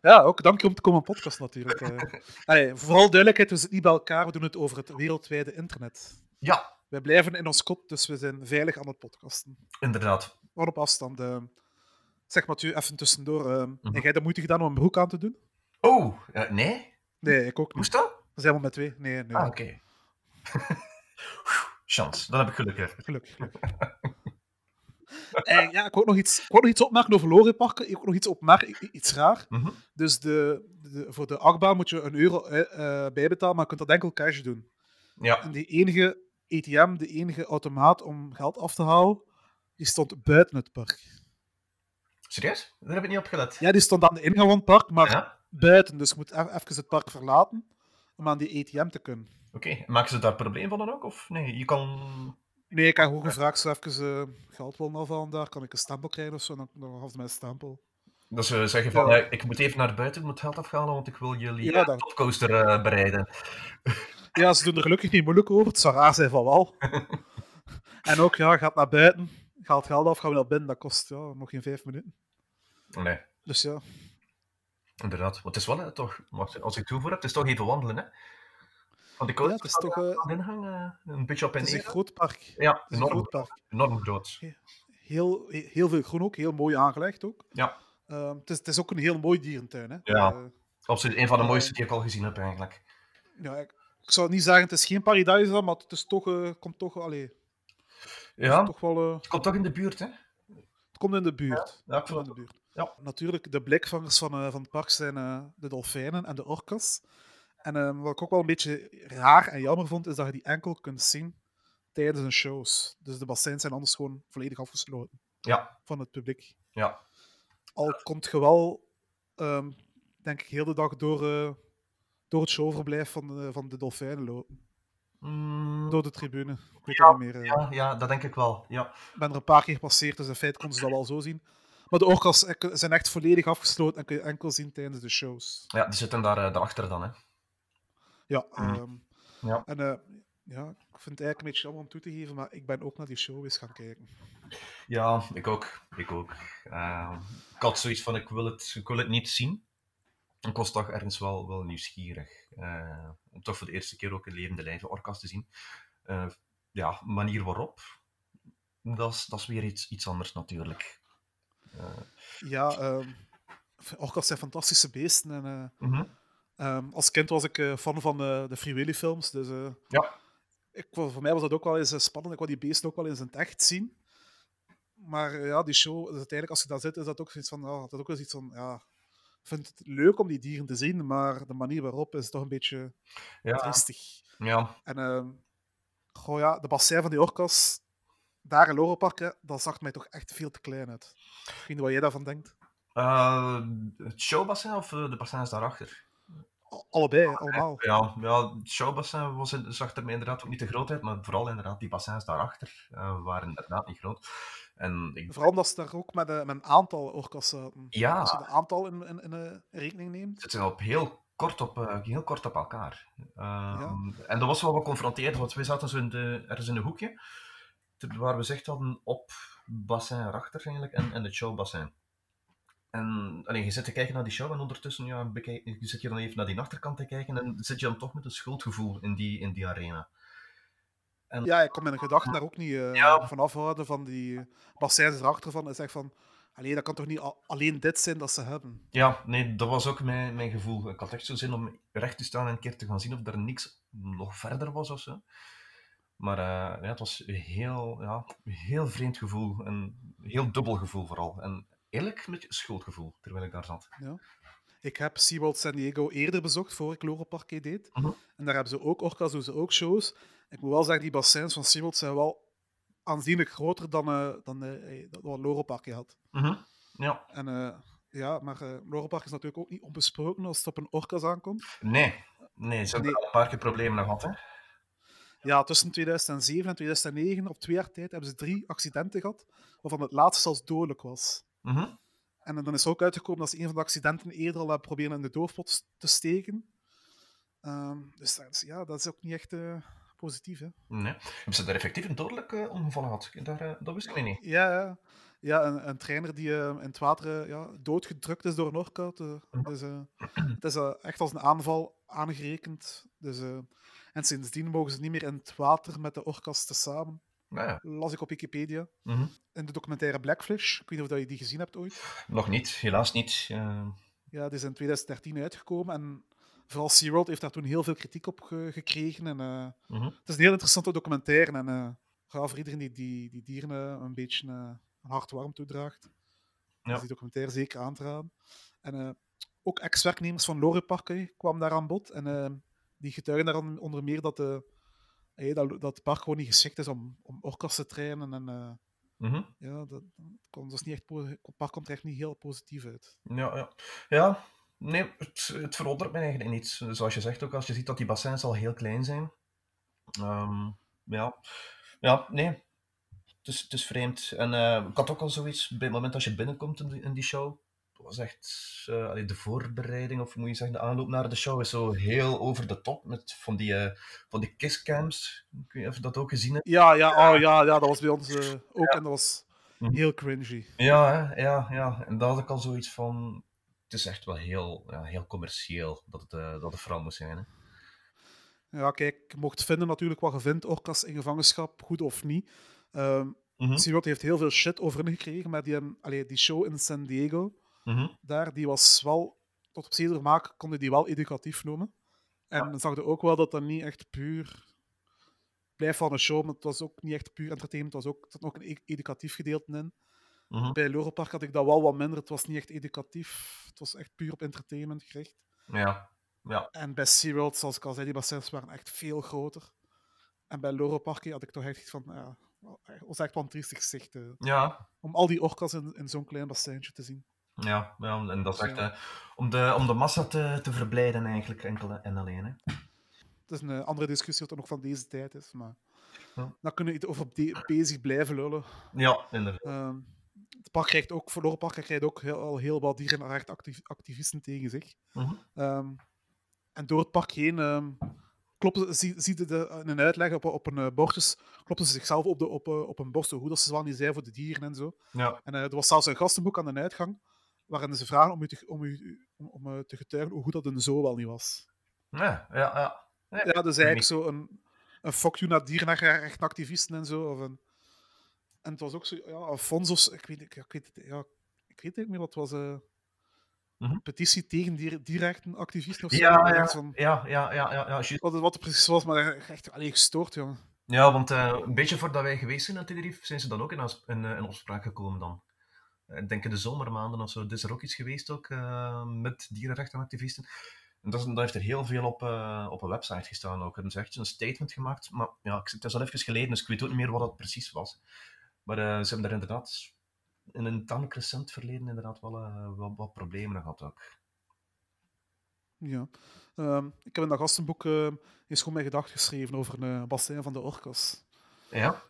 Speaker 1: Ja, ook dank je om te komen podcast natuurlijk. eh. Allee, vooral duidelijkheid, we zitten niet bij elkaar, we doen het over het wereldwijde internet.
Speaker 2: Ja,
Speaker 1: Wij blijven in ons kot, dus we zijn veilig aan het podcasten.
Speaker 2: inderdaad.
Speaker 1: Maar op afstand. eh. zeg Mathieu, even tussendoor. eh,
Speaker 2: Mhm.
Speaker 1: Heb jij de moeite gedaan om een broek aan te doen?
Speaker 2: Oh, eh, nee?
Speaker 1: Nee, ik ook niet.
Speaker 2: Moest dat?
Speaker 1: We zijn maar met twee. Nee, nee.
Speaker 2: Ah, oké. Chance, dan heb ik geluk. hè.
Speaker 1: Gelukkig. gelukkig. Eh, ja, ik wou ook nog iets, ik wou nog iets opmerken over Lorenparken. Ik wou ook nog iets opmerken, iets raar.
Speaker 2: Mhm.
Speaker 1: Dus de, de, voor de achtbaan moet je een euro eh, eh, bijbetalen, maar je kunt dat enkel cash doen.
Speaker 2: Ja,
Speaker 1: En die enige ATM, de enige automaat om geld af te halen, die stond buiten het park.
Speaker 2: serieus? Daar heb ik niet op gelet.
Speaker 1: Ja, die stond aan de ingang van het park, maar
Speaker 2: Ja?
Speaker 1: buiten. Dus je moet e- even het park verlaten om aan die ATM te kunnen.
Speaker 2: Oké, maken ze daar probleem van dan ook? Of nee, je kan...
Speaker 1: Nee, ik heb gewoon gevraagd, zo even eh, geld willen afhalen daar, kan ik een stempel krijgen of zo? En dan, dan gaf ze mij een stempel.
Speaker 2: Dat ze zeggen van,
Speaker 1: Ja.
Speaker 2: eh, ik moet even naar buiten, ik moet geld afhalen, want ik wil jullie
Speaker 1: Ja,
Speaker 2: ja,
Speaker 1: dat-
Speaker 2: topcoaster eh, bereiden.
Speaker 1: Ja, ze doen er gelukkig niet moeilijk over, het zou raar zijn van wel. en ook, ja, gaat naar buiten, gaat geld af, gaan we naar binnen, dat kost ja, nog geen vijf minuten.
Speaker 2: Nee,
Speaker 1: Dus ja,
Speaker 2: inderdaad. Want het is wel eh, toch, wacht, als ik het toevoer heb, het is toch even wandelen, hè? Want de
Speaker 1: ja
Speaker 2: coaster
Speaker 1: het is toch eh,
Speaker 2: aan de ingang, eh, een beetje op en
Speaker 1: het is een
Speaker 2: neer.
Speaker 1: groot park.
Speaker 2: Ja,
Speaker 1: Het is een
Speaker 2: enorm,
Speaker 1: groot park.
Speaker 2: enorm groot.
Speaker 1: Heel, he- heel veel groen ook, heel mooi aangelegd ook.
Speaker 2: Ja.
Speaker 1: Ehm, het, is, het is ook een heel mooi dierentuin. Hè.
Speaker 2: Ja.
Speaker 1: Eh,
Speaker 2: Absoluut, een van de mooiste die ik al gezien heb eigenlijk.
Speaker 1: ja, ik, ik zou niet zeggen, het is geen paradijs, maar het is toch, eh, komt toch, allee, het is
Speaker 2: Ja,
Speaker 1: toch wel, eh,
Speaker 2: het komt toch in de buurt, hè?
Speaker 1: het komt in de buurt.
Speaker 2: Ja, ik
Speaker 1: Van
Speaker 2: vond
Speaker 1: in de
Speaker 2: het-
Speaker 1: buurt.
Speaker 2: Ja.
Speaker 1: Natuurlijk, de blikvangers van, eh, van het park zijn eh, de dolfijnen en de orcas. En eh, wat ik ook wel een beetje raar en jammer vond, is dat je die enkel kunt zien tijdens hun shows. Dus de bassins zijn anders gewoon volledig afgesloten
Speaker 2: Ja,
Speaker 1: van het publiek.
Speaker 2: ja.
Speaker 1: Al komt je wel, ehm, denk ik, heel de dag door, eh, door het showverblijf van, de- van de dolfijnen lopen.
Speaker 2: Mm,
Speaker 1: Door de tribune. Ik weet
Speaker 2: Ja,
Speaker 1: dat niet meer. eh.
Speaker 2: ja, ja, dat denk ik wel. Ja.
Speaker 1: Ik ben er een paar keer gepasseerd, dus in feite konden ze dat wel zo zien. Maar de orcas eh, zijn echt volledig afgesloten en kun je enkel zien tijdens de shows.
Speaker 2: Ja, die zitten daar eh, daarachter dan, hè.
Speaker 1: Ja.
Speaker 2: Mhm.
Speaker 1: ehm,
Speaker 2: Ja.
Speaker 1: En eh, ja, ik vind het eigenlijk een beetje jammer om toe te geven, maar ik ben ook naar die show eens gaan kijken.
Speaker 2: Ja, ik ook. Ik ook. Ehm, ik had zoiets van, ik wil het, ik wil het niet zien. Ik was toch ergens wel, wel nieuwsgierig. eh, om toch voor de eerste keer ook in levende lijven orka's te zien. Eh, ja, manier waarop. Dat is, dat is weer iets, iets anders natuurlijk. Eh,
Speaker 1: Ja, ehm, orcas zijn fantastische beesten. En, eh,
Speaker 2: mhm.
Speaker 1: ehm, als kind was ik eh, fan van eh, de Free Willy films, dus eh,
Speaker 2: Ja.
Speaker 1: ik, wou- voor mij was dat ook wel eens eh, spannend. Ik wou die beesten ook wel eens in het echt zien. Maar eh, ja, die show, dus uiteindelijk als je daar zit, is dat ook zoiets van, ja, dat ook wel iets van, ja, ik vind het leuk om die dieren te zien, maar de manier waarop is toch een beetje
Speaker 2: ja,
Speaker 1: triestig.
Speaker 2: ja,
Speaker 1: En ehm goh, ja, de bassin van die orcas, daar in Lorenparken, dat zag mij toch echt veel te klein uit. Ik weet niet wat jij daarvan denkt.
Speaker 2: Eh, het showbassin of eh, de bassins daarachter?
Speaker 1: A- Allebei,
Speaker 2: Ah,
Speaker 1: allemaal.
Speaker 2: Ja, ja het showbassin was, in- zag er mij inderdaad ook niet te groot uit, maar vooral inderdaad die bassins daarachter eh, waren inderdaad niet groot. En ik
Speaker 1: Vooral omdat ze daar ook met, eh, met een aantal orcas zaten.
Speaker 2: Ja.
Speaker 1: Als je het aantal in, in, in, eh, rekening neemt.
Speaker 2: zitten op heel kort op, eh, ging heel kort op elkaar. Ehm, En dat was wel wat confronterend, want wij zaten zo in de, ergens in een hoekje, ter- waar we zicht hadden op Bassin Rachter eigenlijk, en, en het showbassin. En alleen, je zit te kijken naar die show en ondertussen ja, bekijk, je zit je dan even naar die achterkant te kijken en zit je dan toch met een schuldgevoel in die, in die arena.
Speaker 1: Ja, ik kon mijn gedachten daar ook niet eh,
Speaker 2: Ja.
Speaker 1: van afhouden. Van die eh, bassins erachter van. En zeg van. Allee, dat kan toch niet al- alleen dit zijn dat ze hebben?
Speaker 2: Ja, nee, dat was ook mijn, mijn gevoel. Ik had echt zo zin om recht te staan en een keer te gaan zien of er niks nog verder was of zo. Maar eh, ja, het was een heel, ja, een heel vreemd gevoel. Een heel dubbel gevoel vooral. En eerlijk een beetje schuldgevoel terwijl ik daar zat.
Speaker 1: Ik heb SeaWorld San Diego eerder bezocht, voor ik Lorenpark deed.
Speaker 2: Mhm.
Speaker 1: En daar hebben ze ook orka's, doen ze ook shows. Ik moet wel zeggen, die bassins van SeaWorld zijn wel aanzienlijk groter dan, eh dan eh, dat wat Lorenpark had.
Speaker 2: Mhm, Ja,
Speaker 1: En eh, ja, maar eh Lorenpark is natuurlijk ook niet onbesproken als het op een orka's aankomt.
Speaker 2: nee. Nee, ze hebben
Speaker 1: Nee.
Speaker 2: al een paar keer problemen gehad. Hè?
Speaker 1: Ja, tussen 2007 en 2009, op twee jaar tijd, hebben ze drie accidenten gehad, waarvan het laatste zelfs dodelijk was.
Speaker 2: Mhm.
Speaker 1: En dan is er ook uitgekomen dat ze een van de accidenten eerder al hebben proberen in de doofpot s- te steken. Ehm, dus dat is, ja, dat is ook niet echt eh, positief. Hè?
Speaker 2: Nee. Hebben ze daar effectief een dodelijk eh, ongeval gehad? Daar, eh, dat wist ik niet.
Speaker 1: Ja, ja. ja een, een trainer die eh, in het water eh, ja, doodgedrukt is door een orka. te- dus, eh, het is eh, echt als een aanval aangerekend. Dus, eh, en sindsdien mogen ze niet meer in het water met de orka's tezamen.
Speaker 2: Nou ja.
Speaker 1: Las ik op Wikipedia.
Speaker 2: Mhm.
Speaker 1: In de documentaire Blackfish, ik weet niet of dat je die gezien hebt ooit.
Speaker 2: Nog niet, helaas niet. Eh,
Speaker 1: Ja, die is in 2013 uitgekomen en vooral SeaWorld heeft daar toen heel veel kritiek op ge- gekregen. En, eh,
Speaker 2: mhm.
Speaker 1: het is een heel interessante documentaire en eh ga voor iedereen die, die, die dieren eh, een beetje eh, een hart warm toedraagt.
Speaker 2: Ja.
Speaker 1: Dus die documentaire zeker aan te raden. En eh, ook ex-werknemers van Lorepark kwamen daar aan bod en eh, die getuigen daar on- onder meer dat, de, eh, dat, dat het park gewoon niet geschikt is om, om orka's te trainen. En, eh,
Speaker 2: Mhm.
Speaker 1: ja, dat, dat komt dus niet echt, po- het park komt er echt niet heel positief uit.
Speaker 2: Ja, ja. ja nee, het, het verandert mij eigenlijk niet. Zoals je zegt ook, als je ziet dat die bassins al heel klein zijn. Ehm, ja. ja, nee. Het is, het is vreemd. En eh, ik had ook al zoiets, bij het moment dat je binnenkomt in die, in die show, dat was echt eh, allee, de voorbereiding, of moet je zeggen, de aanloop naar de show is zo heel over de top met van die, eh, van die kisscams. Ik weet niet of je dat ook gezien hebt.
Speaker 1: Ja, ja, oh, ja, ja, dat was bij ons eh, ook en dat was
Speaker 2: Mhm.
Speaker 1: heel cringy.
Speaker 2: Ja, hè, ja, ja. En daar had ik al zoiets van. Het is echt wel heel, ja, heel commercieel dat het, eh, dat het vooral moet zijn. Hè.
Speaker 1: Ja, kijk, je mocht vinden natuurlijk wat je vindt, orcas in gevangenschap, goed of niet. Ehm
Speaker 2: Mhm,
Speaker 1: SeaWorld heeft heel veel shit over hen gekregen met die, ehm, allee, die show in San Diego.
Speaker 2: mhm.
Speaker 1: Daar, die was wel, tot op zekere maak konden die wel educatief noemen. En dan zag je ook wel dat dat niet echt puur... Blijf van een show, maar het was ook niet echt puur entertainment. Het was ook, er zat ook een e- educatief gedeelte in.
Speaker 2: Mhm.
Speaker 1: Bij Loropark had ik dat wel wat minder. Het was niet echt educatief. Het was echt puur op entertainment gericht.
Speaker 2: Ja, ja.
Speaker 1: En bij SeaWorld, zoals ik al zei, die bassins waren echt veel groter. En bij Loropark had ik toch echt iets van, ja, was echt wel een triestig gezicht. eh,
Speaker 2: Ja,
Speaker 1: om al die orka's in, in zo'n klein bassintje te zien.
Speaker 2: ja, ja. En dat is echt
Speaker 1: Ja.
Speaker 2: eh, om, de, om de massa te, te verblijden eigenlijk, enkel en alleen. Hè.
Speaker 1: Het is een eh, andere discussie wat dan ook van deze tijd is, maar
Speaker 2: Ja.
Speaker 1: daar kunnen we iets over be- bezig blijven lullen.
Speaker 2: Ja, inderdaad.
Speaker 1: Ehm, het park krijgt ook, voor Loropark krijgt ook heel, al heel wat dierenrechtenactivisten tegen zich.
Speaker 2: Mhm.
Speaker 1: Ehm, en door het park heen ehm, kloppen, ze- zie, zie je de, in een uitleg op, op een eh, bordjes, kloppen ze zichzelf op, de, op, eh, op een borst, hoe dat ze zwaar niet zijn voor de dieren en zo.
Speaker 2: Ja,
Speaker 1: En eh, er was zelfs een gastenboek aan de uitgang, waarin ze vragen om, u te, om, u, om, om, eh, te getuigen hoe goed dat een zo wel niet was.
Speaker 2: ja, ja. ja.
Speaker 1: Ja, dus eigenlijk zo een, een fuck you naar dierenrechtenactivisten en zo. Of een, en het was ook zo, ja, Alfonso's, ik weet, niet- ja, ik weet, het- ja, ik weet het niet meer wat het was. eh,
Speaker 2: Mhm.
Speaker 1: Een petitie tegen dier, dierenrechtenactivisten of zo.
Speaker 2: Ja,
Speaker 1: En
Speaker 2: ja.
Speaker 1: echt van-
Speaker 2: Ja, ja, ja, ja, ja, juist.
Speaker 1: wat, het- wat het precies was, maar echt alleen gestoord, jongen.
Speaker 2: ja, want eh, een beetje voordat wij geweest zijn in Tenerife, zijn ze dan ook in, as- in, eh, in opspraak gekomen dan. Eh, Ik denk in de zomermaanden of zo, het is er ook iets geweest ook, eh, met dierenrechtenactivisten. En dat, is- dat heeft er heel veel op, eh, op een website gestaan ook. En ze heeft een statement gemaakt, maar ja, ik- het is al even geleden, dus ik weet ook niet meer wat dat precies was. Maar eh, ze hebben daar inderdaad in een tamelijk recent verleden inderdaad wel eh, wel wat problemen gehad ook.
Speaker 1: Ja. Ehm, ik heb in dat gastenboek ehm, eens gewoon mijn gedachten geschreven over een eh, bassin van de orcas.
Speaker 2: Ja?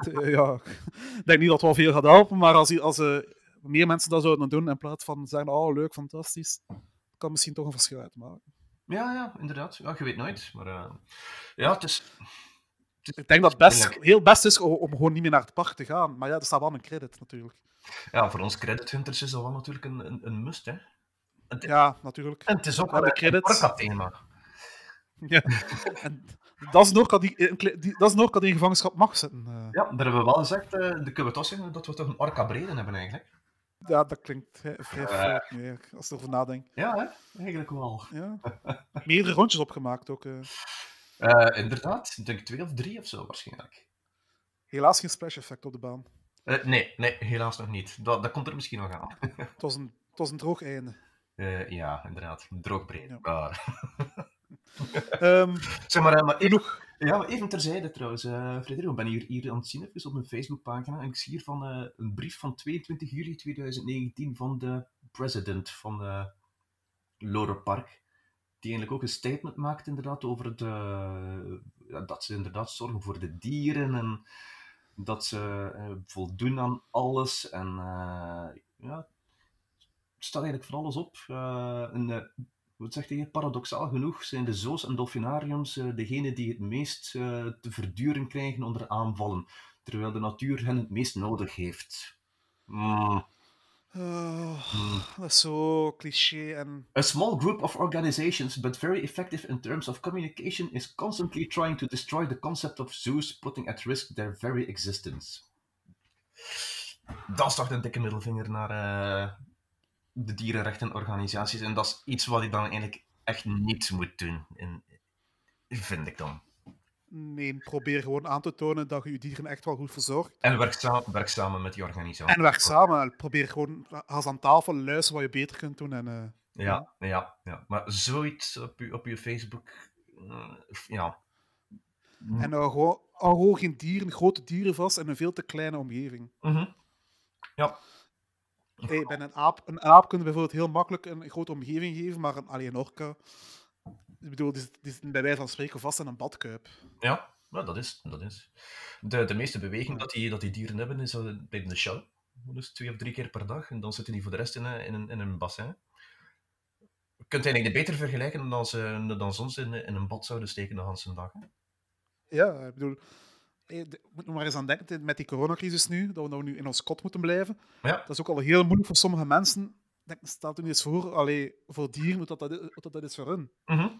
Speaker 1: Eh, ja, ik denk niet dat het wel veel gaat helpen, maar als, als eh, meer mensen dat zouden doen in plaats van zeggen, oh leuk, fantastisch, kan misschien toch een verschil uitmaken.
Speaker 2: Ja, ja, inderdaad. Ja, je weet nooit. Maar eh, ja, het is...
Speaker 1: Ik denk dat het best, heel best is om om gewoon niet meer naar het park te gaan. Maar ja, er staat wel een credit natuurlijk.
Speaker 2: ja, voor ons credit hunters is dat wel natuurlijk een, een, een must, hè.
Speaker 1: Ja, natuurlijk.
Speaker 2: En het is ook
Speaker 1: Ja,
Speaker 2: wel
Speaker 1: de
Speaker 2: een
Speaker 1: credits.
Speaker 2: parka-thema.
Speaker 1: Ja. En dat is nog dat die, in- die- dat is nog dat die in gevangenschap mag zitten. eh.
Speaker 2: Ja, daar hebben we wel gezegd, eh, de kunnen we toch zeggen dat we toch een orka-breden hebben, eigenlijk.
Speaker 1: Ja, dat klinkt vrij vrij
Speaker 2: Ja.
Speaker 1: fout meer, als ik erover nadenk.
Speaker 2: Ja, hè? eigenlijk wel.
Speaker 1: Ja. Meerdere rondjes opgemaakt ook. eh.
Speaker 2: Eh, inderdaad, ik denk twee of drie of zo, waarschijnlijk.
Speaker 1: Helaas geen splash effect op de baan.
Speaker 2: Eh, nee, nee, helaas nog niet. Dat, dat komt er misschien nog aan.
Speaker 1: Het was een, het was een droog einde.
Speaker 2: Eh, ja, inderdaad. Droogbreed.
Speaker 1: Ja.
Speaker 2: Maar...
Speaker 1: Ehm,
Speaker 2: Zeg maar, eh, maar even,
Speaker 1: genoeg.
Speaker 2: ja, maar even terzijde trouwens. eh Frederik, ik ben hier, hier aan het zien even op mijn Facebookpagina. En ik zie hier van eh, een brief van 22 juli 2019 van de president van eh Loderpark. Die eigenlijk ook een statement maakt inderdaad over het, eh, ja, dat ze inderdaad zorgen voor de dieren. En dat ze eh, voldoen aan alles. En eh, ja, het staat eigenlijk van alles op. Eh, en, eh, wat zegt hij? hier? Paradoxaal genoeg zijn de zoos en dolfinariums eh degenen die het meest eh, te verduren krijgen onder aanvallen, terwijl de natuur hen het meest nodig heeft. Mm.
Speaker 1: Eh, dat is zo cliché en...
Speaker 2: A small group of organizations, but very effective in terms of communication, is constantly trying to destroy the concept of zoos, putting at risk their very existence. Dat is toch een dikke middelvinger naar eh, de dierenrechtenorganisaties. En dat is iets wat ik dan eigenlijk echt niet moet doen, in, vind ik dan.
Speaker 1: Nee, probeer gewoon aan te tonen dat je je dieren echt wel goed verzorgt.
Speaker 2: En werk, sa- werk samen met die organisatie.
Speaker 1: En werk samen. Probeer gewoon, ga eens aan tafel, luister wat je beter kunt doen. En, eh,
Speaker 2: Mm. Ja, ja, ja. Maar zoiets op je, op je Facebook... eh, ja.
Speaker 1: en hou gewoon, hou gewoon geen dieren, grote dieren vast in een veel te kleine omgeving.
Speaker 2: Mhm. Ja.
Speaker 1: Hey, bij een aap, een aap kunnen bijvoorbeeld heel makkelijk een grote omgeving geven, maar een alien orca... Ik bedoel, die, zit- die zitten bij wijze van spreken vast in een badkuip.
Speaker 2: Ja, ja, dat is. Dat is. De, de meeste beweging dat die, dat die dieren hebben is eh, bij de shell. Dus twee of drie keer per dag. En dan zitten die voor de rest in, een- in, een, in een bassin. Je kunt eigenlijk niet beter vergelijken dan ze, dan ze ons in, in een bad zouden steken de hele dag. hè.
Speaker 1: Ja, ik bedoel... Hey, de- moet nog maar eens aan denken, met die coronacrisis nu, dat we nou nu in ons kot moeten blijven.
Speaker 2: Ja,
Speaker 1: Dat is ook al heel moeilijk voor sommige mensen. Ik Denk, staat er niet eens voor, allee, voor dieren, moet dat, dat, is- dat, dat is voor hun.
Speaker 2: mhm,
Speaker 1: Ik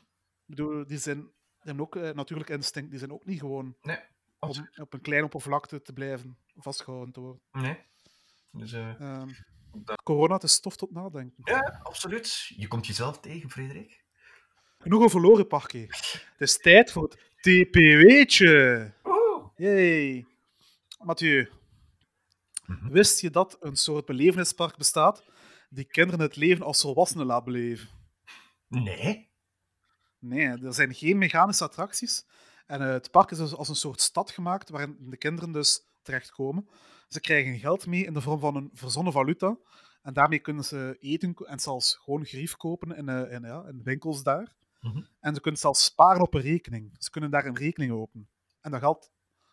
Speaker 1: bedoel, die, zijn, die hebben ook eh, natuurlijk instinct, die zijn ook niet gewoon om
Speaker 2: absoluut.
Speaker 1: op een kleine oppervlakte te blijven vastgehouden te worden.
Speaker 2: Nee. Dus, eh,
Speaker 1: Ehm,
Speaker 2: Dat-
Speaker 1: Corona, het is stof tot nadenken.
Speaker 2: ja, absoluut. Je komt jezelf tegen, Frederik.
Speaker 1: Genoeg een verloren pakje. Het is tijd voor het TPW'tje.
Speaker 2: Woehoe.
Speaker 1: Yay. Mathieu,
Speaker 2: Mhm.
Speaker 1: wist je dat een soort belevenispark bestaat die kinderen het leven als volwassenen laat beleven?
Speaker 2: Nee.
Speaker 1: Nee, er zijn geen mechanische attracties. En eh, het park is dus als een soort stad gemaakt waarin de kinderen dus terechtkomen. Ze krijgen geld mee in de vorm van een verzonnen valuta. En daarmee kunnen ze eten ko- en zelfs gewoon grief kopen in, eh, in, ja, in winkels daar.
Speaker 2: Mhm.
Speaker 1: En ze kunnen zelfs sparen op een rekening. Ze kunnen daar een rekening openen. En dat geld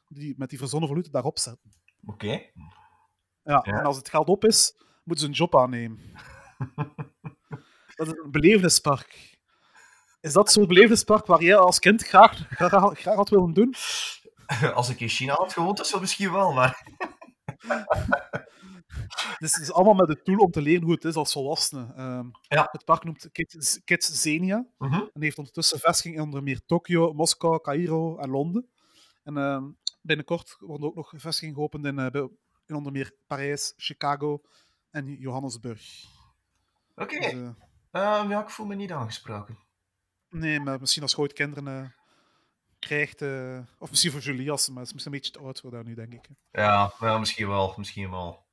Speaker 1: die, met die verzonnen valuta daarop zetten.
Speaker 2: Oké.
Speaker 1: Ja,
Speaker 2: Ja.
Speaker 1: En als het geld op is, moeten ze een job aannemen. dat is een belevenispark. Is dat zo'n belevenispark waar jij als kind graag, graag, graag had willen doen?
Speaker 2: Als ik in China had gewoond, is dat misschien wel, maar...
Speaker 1: Dus het is allemaal met het doel om te leren hoe het is als volwassene. Ehm,
Speaker 2: Ja.
Speaker 1: Het park noemt Kids, Kids Zenia
Speaker 2: Mhm.
Speaker 1: en heeft ondertussen vestiging in onder meer Tokio, Moskou, Cairo en Londen. En ehm, binnenkort worden ook nog vestigingen geopend in, eh, bij- in onder meer Parijs, Chicago en Johannesburg.
Speaker 2: Oké.
Speaker 1: Dus, eh,
Speaker 2: Eh, ja, ik voel me niet aangesproken.
Speaker 1: Nee, maar misschien als je ooit kinderen eh, krijgt. eh, of misschien voor Julie als ze- maar ze is misschien een beetje te oud voor daar nu, denk ik. hè.
Speaker 2: Ja, nou, misschien wel, misschien wel.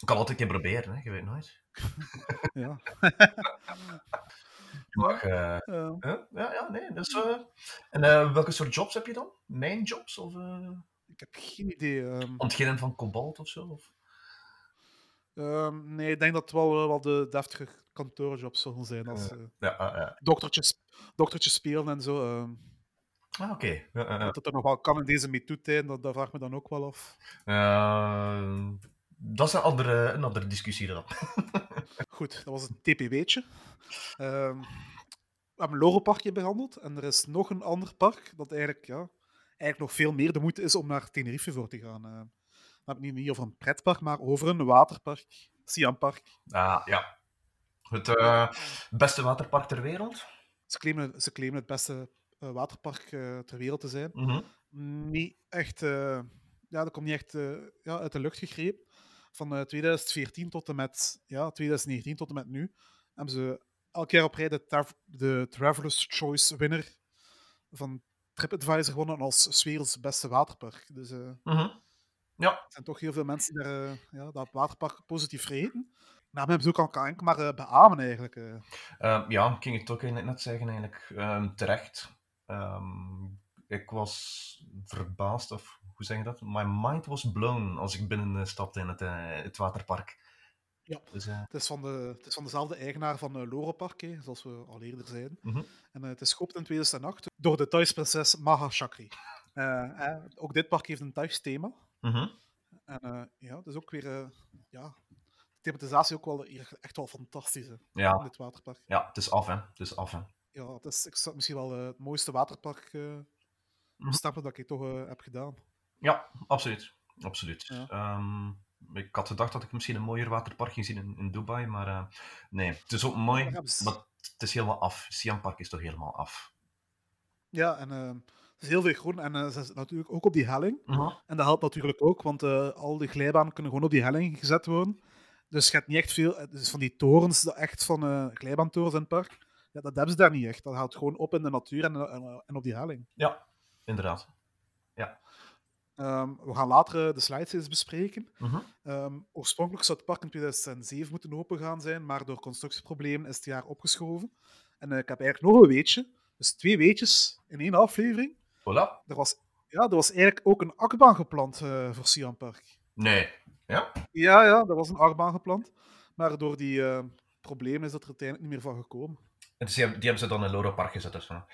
Speaker 2: Ik kan altijd een keer proberen, hè? je weet nooit.
Speaker 1: Ja.
Speaker 2: Je mag, eh,
Speaker 1: Eh,
Speaker 2: hè? ja, ja, nee. Dus, eh, en eh, welke soort jobs heb je dan? Mijn jobs? Of eh
Speaker 1: ik heb geen idee. ehm.
Speaker 2: ontginnen van kobalt of zo? Of?
Speaker 1: Ehm, nee, ik denk dat het wel, eh, wel de deftige kantoorjobs zullen zijn. Als, eh,
Speaker 2: Ja, ah, ja.
Speaker 1: doktertjes, doktertjes spelen en zo. ehm,
Speaker 2: Ah, oké. Ja, ja, ja.
Speaker 1: dat dat er nog wel kan in deze MeToo-tijd, dat, dat vraag ik me dan ook wel af.
Speaker 2: Ehm, dat is een andere, een andere discussie dan.
Speaker 1: Goed, dat was het TPW'tje. Ehm, hebben Lorenparkje behandeld. En er is nog een ander park dat eigenlijk, ja, eigenlijk nog veel meer de moeite is om naar Tenerife voor te gaan. Eh, we hebben het niet over een pretpark, maar over een waterpark. Siampark.
Speaker 2: Ah, ja. Het eh, beste waterpark ter wereld.
Speaker 1: Ze claimen, ze claimen het beste eh, waterpark eh, ter wereld te zijn.
Speaker 2: Mhm.
Speaker 1: niet echt, eh, ja, dat komt niet echt eh, ja, uit de lucht gegrepen. Van eh, 2014 tot en met ja, 2019 tot en met nu hebben ze elk jaar op rij de, Tav- de Travelers Choice winnaar van TripAdvisor gewonnen als 's werelds beste waterpark. Dus eh,
Speaker 2: Mhm. Ja.
Speaker 1: er zijn toch heel veel mensen die daar, eh, ja, dat waterpark positief reden. Naam hebben ze ook al kanker, maar eh, beamen eigenlijk. eh.
Speaker 2: Ehm, ja, ik ging het ook eigenlijk net zeggen, eigenlijk. Ehm, terecht. Ehm, ik was verbaasd, of hoe zeg je dat? My mind was blown als ik binnen eh, stapte in het, eh, het waterpark.
Speaker 1: Ja.
Speaker 2: Dus, eh,
Speaker 1: Het is van, de, het is van dezelfde eigenaar van eh Lorenpark, hè, zoals we al eerder zeiden.
Speaker 2: Mhm.
Speaker 1: En eh, het is geopend in 2008 door de thuisprinses Maha Chakri. Eh, eh, ook dit park heeft een thuisthema.
Speaker 2: mhm.
Speaker 1: En eh, ja, dus ook weer... eh, ja, de thematisatie ook wel hier echt wel fantastisch hè, in
Speaker 2: ja,
Speaker 1: dit waterpark.
Speaker 2: ja, het is af, hè. Het is af, hè.
Speaker 1: Ja, het is ik zou het misschien wel eh, het mooiste waterpark eh
Speaker 2: Mhm.
Speaker 1: stappen dat ik toch eh, heb gedaan.
Speaker 2: Ja, absoluut. absoluut.
Speaker 1: Ja.
Speaker 2: Ehm, ik had gedacht dat ik misschien een mooier waterpark ging zien in, in Dubai, maar eh, nee, het is ook mooi,
Speaker 1: Daar hebben ze-
Speaker 2: maar het is helemaal af. Siam Park is toch helemaal af?
Speaker 1: Ja, en eh, het is heel veel groen. En eh, ze is natuurlijk ook op die helling.
Speaker 2: Mhm.
Speaker 1: En dat helpt natuurlijk ook, want eh, al die glijbanen kunnen gewoon op die helling gezet worden. Dus je hebt niet echt veel... eh, Dus van die torens, dat echt van eh glijbaantorens in het park, ja, dat hebben ze daar niet echt. Dat houdt gewoon op in de natuur en, eh, en, en op die helling.
Speaker 2: Ja, inderdaad.
Speaker 1: Ehm, we gaan later eh, de slides eens bespreken.
Speaker 2: Mhm.
Speaker 1: Ehm, oorspronkelijk zou het park in 2007 moeten opengaan zijn, maar door constructieproblemen is het jaar opgeschoven. En eh, ik heb eigenlijk nog een weetje. Dus twee weetjes in één aflevering.
Speaker 2: Voilà.
Speaker 1: Er was, ja, er was eigenlijk ook een achtbaan gepland eh, voor Siam Park.
Speaker 2: Nee. Ja?
Speaker 1: Ja, ja, er was een achtbaan gepland. Maar door die eh, problemen is dat er uiteindelijk niet meer van gekomen.
Speaker 2: En dus die hebben, die hebben ze dan in Loro Park gezet dus of zo.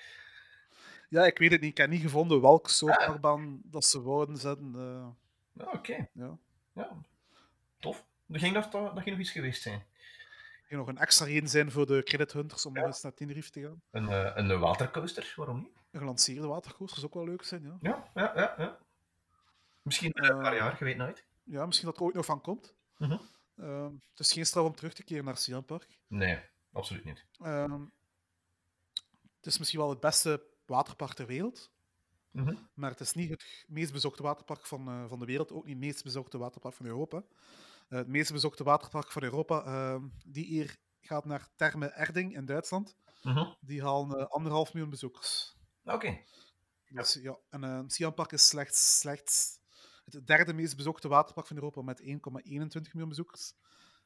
Speaker 1: Ja, ik weet het niet. Ik heb niet gevonden welk soort
Speaker 2: Ah.
Speaker 1: achtbaan dat ze wouden zetten. eh.
Speaker 2: Ja, Oké.
Speaker 1: Ja.
Speaker 2: Ja. Tof. Dat ging, dat, dat ging nog iets geweest zijn.
Speaker 1: er ging nog een extra reden zijn voor de credit hunters om
Speaker 2: Ja.
Speaker 1: nog eens naar Tenerife te gaan.
Speaker 2: Een, eh, een watercoaster, waarom niet?
Speaker 1: Een gelanceerde waterkoers zou ook wel leuk zijn, ja.
Speaker 2: Ja, ja, ja. ja. Misschien eh, een
Speaker 1: Eh,
Speaker 2: paar jaar, je weet nooit.
Speaker 1: Ja, misschien dat er ooit nog van komt.
Speaker 2: Mhm.
Speaker 1: Ehm, het is geen straf om terug te keren naar Siam Park.
Speaker 2: Nee, absoluut niet.
Speaker 1: Ehm, het is misschien wel het beste waterpark ter wereld.
Speaker 2: Mhm.
Speaker 1: Maar het is niet het meest bezochte waterpark van, eh, van de wereld. Ook niet het meest bezochte waterpark van Europa. Eh, het meest bezochte waterpark van Europa, ehm, die hier gaat naar Terme Erding in Duitsland.
Speaker 2: Mhm.
Speaker 1: Die halen eh, anderhalf miljoen bezoekers.
Speaker 2: Oké.
Speaker 1: Dus, ja, en eh Siam Park is slechts, slechts het derde meest bezochte waterpark van Europa met 1,21 miljoen bezoekers.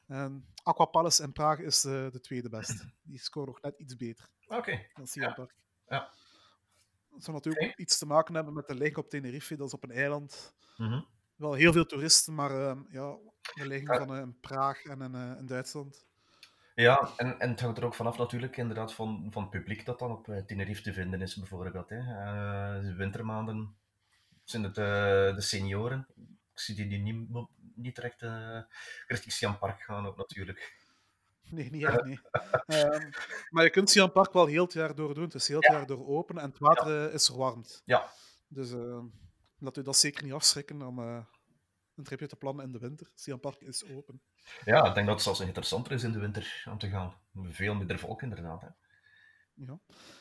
Speaker 1: En Aqua Palace in Praag is eh, de tweede beste. Die scoren nog net iets beter
Speaker 2: Oké.
Speaker 1: dan Siam
Speaker 2: Ja,
Speaker 1: Park.
Speaker 2: ja.
Speaker 1: Dat zou natuurlijk ook iets te maken hebben met de link op Tenerife, dat is op een eiland.
Speaker 2: Mhm.
Speaker 1: Wel heel veel toeristen, maar ehm, ja, de ligging
Speaker 2: Ja.
Speaker 1: van eh, in Praag en in, eh, in Duitsland.
Speaker 2: Ja, en, en het hangt er ook vanaf natuurlijk inderdaad van, van het publiek dat dan op eh, Tenerife te vinden is bijvoorbeeld. Hè. Eh, de wintermaanden zijn het eh, de senioren. Ik zie die nu niet, mo- niet direct eh richting Siam Park gaan ook natuurlijk.
Speaker 1: Nee, niet echt, nee. Ehm, maar je kunt Siam Park wel heel het jaar door doen. Het is heel het jaar door open en het water eh, is verwarmd.
Speaker 2: Ja.
Speaker 1: Dus ehm, laat u dat zeker niet afschrikken om eh, een tripje te plannen in de winter. Siam Park is open.
Speaker 2: Ja, ik denk dat het zelfs interessanter is in de winter om te gaan. Veel minder volk inderdaad. Hè.
Speaker 1: Ja.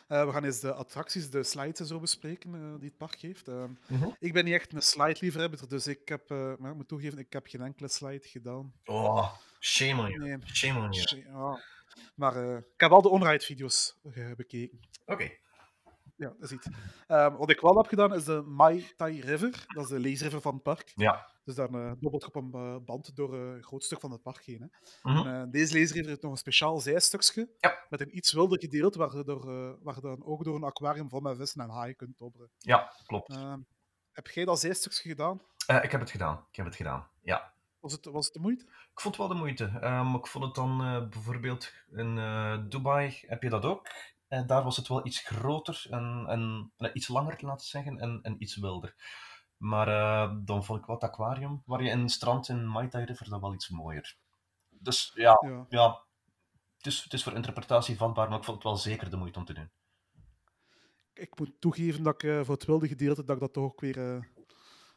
Speaker 1: Eh, we gaan eens de attracties, de slides en zo bespreken eh, die het park heeft. Ehm,
Speaker 2: Mhm.
Speaker 1: Ik ben niet echt een slide-liefhebber, dus ik heb, eh, maar ik moet toegeven, ik heb geen enkele slide gedaan.
Speaker 2: Oh, shame on you.
Speaker 1: Nee.
Speaker 2: Shame on you.
Speaker 1: Ja. Maar eh, ik heb al de onride-video's eh, bekeken.
Speaker 2: Oké.
Speaker 1: Ja, dat is iets. Ehm, wat ik wel heb gedaan is de Mai Tai River. Dat is de leesriver van het park.
Speaker 2: Ja.
Speaker 1: Dus daar eh dobbelt je op een eh, band door eh, een groot stuk van het park heen. Hè.
Speaker 2: Mhm.
Speaker 1: En, eh, deze leesriver heeft nog een speciaal zijstukje.
Speaker 2: Ja.
Speaker 1: Met een iets wilder gedeelte waar je, door, eh, waar je dan ook door een aquarium vol met vissen en haaien kunt dobberen.
Speaker 2: Ja, klopt.
Speaker 1: Ehm, heb jij dat zijstukje gedaan?
Speaker 2: Eh, ik heb het gedaan. Ik heb het gedaan. Ja.
Speaker 1: Was het, was het de moeite?
Speaker 2: Ik vond wel de moeite. Ehm, ik vond het dan eh, bijvoorbeeld in eh, Dubai heb je dat ook. En daar was het wel iets groter en, en eh, iets langer, laat ik zeggen, en, en iets wilder. Maar eh, dan vond ik wel het aquarium, waar je in het strand in Mai Tai River, dat wel iets mooier. Dus ja,
Speaker 1: Ja.
Speaker 2: ja het, is, het is voor interpretatie vatbaar, maar ik vond het wel zeker de moeite om te doen.
Speaker 1: Ik moet toegeven dat ik eh, voor het wilde gedeelte dat ik dat toch ook weer eh,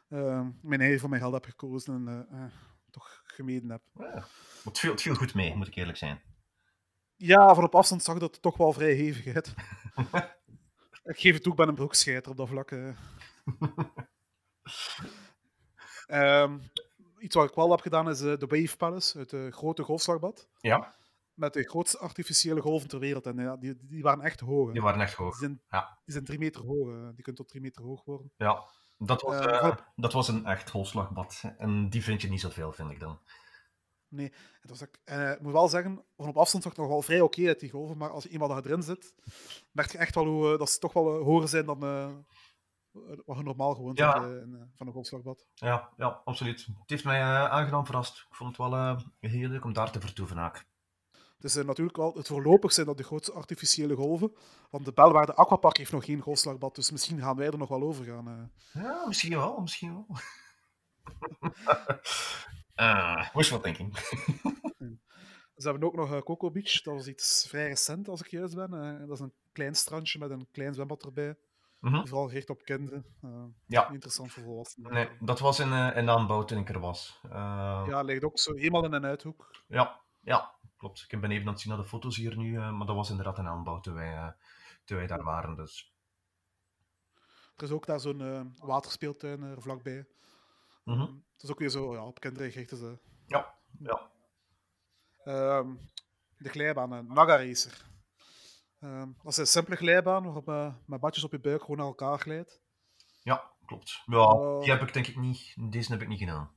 Speaker 1: eh, mijn eigen voor mijn geld heb gekozen en eh, eh, toch gemeden heb.
Speaker 2: Ja, maar het, viel, het viel goed mee, moet ik eerlijk zijn.
Speaker 1: Ja, van op afstand zag dat het toch wel vrij hevig uit. ik geef het toe, ik ben een broekscheiter op dat vlak. eh. Ehm, iets wat ik wel heb gedaan is eh, de Wave Palace, het eh, grote golfslagbad.
Speaker 2: Ja,
Speaker 1: Met de grootste artificiële golven ter wereld. En ja, die, die waren echt hoog. hè.
Speaker 2: die waren echt
Speaker 1: Die
Speaker 2: hoog.
Speaker 1: zijn,
Speaker 2: Ja.
Speaker 1: die zijn drie meter hoog. eh. Die kunnen tot drie meter hoog worden.
Speaker 2: Ja, dat was,
Speaker 1: Eh,
Speaker 2: eh,
Speaker 1: hop.
Speaker 2: dat was een echt holslagbad. En die vind je niet zoveel, vind ik dan.
Speaker 1: Het was ook- en, eh, ik moet wel zeggen, van op afstand zag het nog wel vrij oké uit, die golven. Maar als je eenmaal daar erin zit, merk je echt wel hoe, eh, dat ze toch wel eh, hoger zijn dan eh, wat je normaal gewoond
Speaker 2: Ja.
Speaker 1: bent eh, in, eh, van een golfslagbad.
Speaker 2: Ja, ja absoluut. Het heeft mij eh, aangenaam verrast. Ik vond het wel eh, heel leuk om daar te vertoeven ook.
Speaker 1: Het is eh, natuurlijk wel, het voorlopig zijn dat de grootste artificiële golven. Want de Belwaarde Aquapark heeft nog geen golfslagbad, dus misschien gaan wij er nog wel over gaan. eh.
Speaker 2: Ja, misschien wel, misschien wel. Eh wishful thinking.
Speaker 1: Ze hebben ook nog eh, Coco Beach, dat was iets vrij recent als ik juist ben. eh, dat is een klein strandje met een klein zwembad erbij.
Speaker 2: Mhm.
Speaker 1: Vooral gericht op kinderen. eh,
Speaker 2: Ja.
Speaker 1: niet Interessant voor volwassenen.
Speaker 2: Nee, dat was in, eh in aanbouw toen ik er was. Eh, ja.
Speaker 1: Ja, ligt ook zo helemaal in een uithoek.
Speaker 2: Ja, klopt. Ik ben even aan het zien naar de foto's hier nu, eh, maar dat was inderdaad in aanbouw toen wij, eh, toen wij daar waren. Dus.
Speaker 1: Er is ook daar zo'n eh, waterspeeltuin er vlakbij. Ehm,
Speaker 2: Mhm.
Speaker 1: Het is ook weer zo, ja, op kinderen gericht is dat.
Speaker 2: Ja, ja.
Speaker 1: Ehm, de glijbanen, Naga Racer. Ehm, dat is een simpele glijbaan waarop je met badjes op je buik gewoon naar elkaar glijdt.
Speaker 2: Ja, klopt. Ja, die heb ik denk ik niet. Deze heb ik niet gedaan.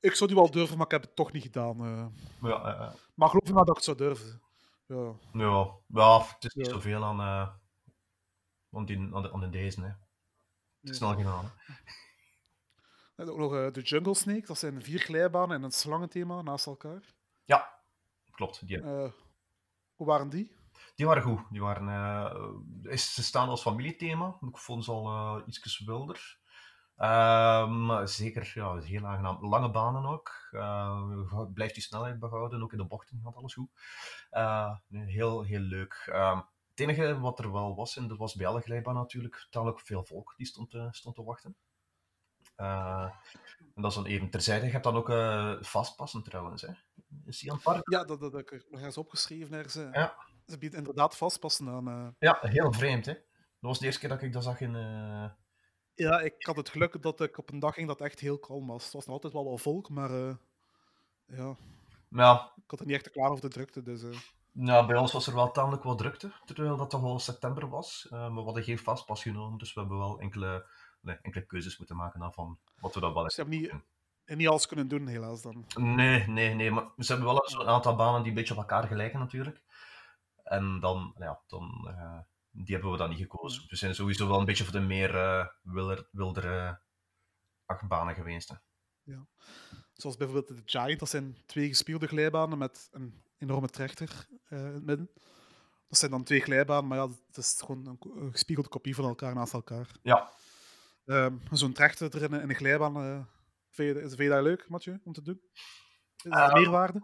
Speaker 1: Ik zou die wel durven, maar ik heb het toch niet gedaan. eh.
Speaker 2: Ja, eh, eh,
Speaker 1: Maar geloof me nou dat ik het zou durven. Ja.
Speaker 2: ja, ja het is niet
Speaker 1: Ja.
Speaker 2: zoveel aan, eh aan, die, aan, de, aan de deze. Hè. Het is
Speaker 1: Nee.
Speaker 2: snel gedaan. hè.
Speaker 1: En ook nog eh, de Jungle Snake, dat zijn vier glijbanen en een slangenthema naast elkaar.
Speaker 2: Ja, klopt. Die, heb-
Speaker 1: Eh, hoe waren die?
Speaker 2: die waren goed. Die waren, eh, is- ze staan als familiethema. Ik vond ze al iets ietsjes wilder. Eh, maar zeker, ja, heel aangenaam. Lange banen ook. Eh blijft die snelheid behouden. Ook in de bochten gaat alles goed. Eh, nee, heel, heel leuk. Ehm, het enige wat er wel was, en dat was bij alle glijbanen natuurlijk, tamelijk veel volk die stond, te- stond te wachten. Eh, en dat is dan even terzijde. Je hebt dan ook eh, vastpassen trouwens, hè? In Sian Park.
Speaker 1: Ja, dat, dat heb ik er nog eens opgeschreven. Ergens, eh.
Speaker 2: Ja.
Speaker 1: Ze biedt inderdaad vastpassen aan. eh.
Speaker 2: Ja, heel vreemd, hè? Dat was de eerste keer dat ik dat zag in. eh,
Speaker 1: Ja, ik had het geluk dat ik op een dag ging dat echt heel kalm was. Het was nog altijd wel wat volk, maar eh, ja,
Speaker 2: Nou,
Speaker 1: ik had er niet echt klaar over de drukte. Dus, eh.
Speaker 2: nou, bij ons was er wel tamelijk wat drukte, terwijl dat toch al september was. Eh, maar we hadden geen vastpas genomen, dus we hebben wel enkele, nee, enkele keuzes moeten maken dan van wat we dan wel
Speaker 1: Dus
Speaker 2: eens.
Speaker 1: je hebt niet, en niet alles kunnen doen, helaas dan.
Speaker 2: Nee, nee, nee, maar ze hebben wel zo'n aantal banen die een beetje op elkaar gelijken natuurlijk. En dan, ja, dan, eh, die hebben we dan niet gekozen. We zijn sowieso wel een beetje voor de meer eh, wilder, wildere achtbanen geweest. Hè.
Speaker 1: Zoals bijvoorbeeld de Giant, dat zijn twee gespierde glijbanen met een enorme trechter eh, in het midden. Dat zijn dan twee glijbanen, maar ja, het is gewoon een, ko- een gespiegelde kopie van elkaar naast elkaar.
Speaker 2: Ja,
Speaker 1: Ehm, Zo'n trechter erin in een glijbaan, eh, vind, je, vind je dat leuk, Mathieu, om te doen? Is dat
Speaker 2: Ehm,
Speaker 1: meerwaarde?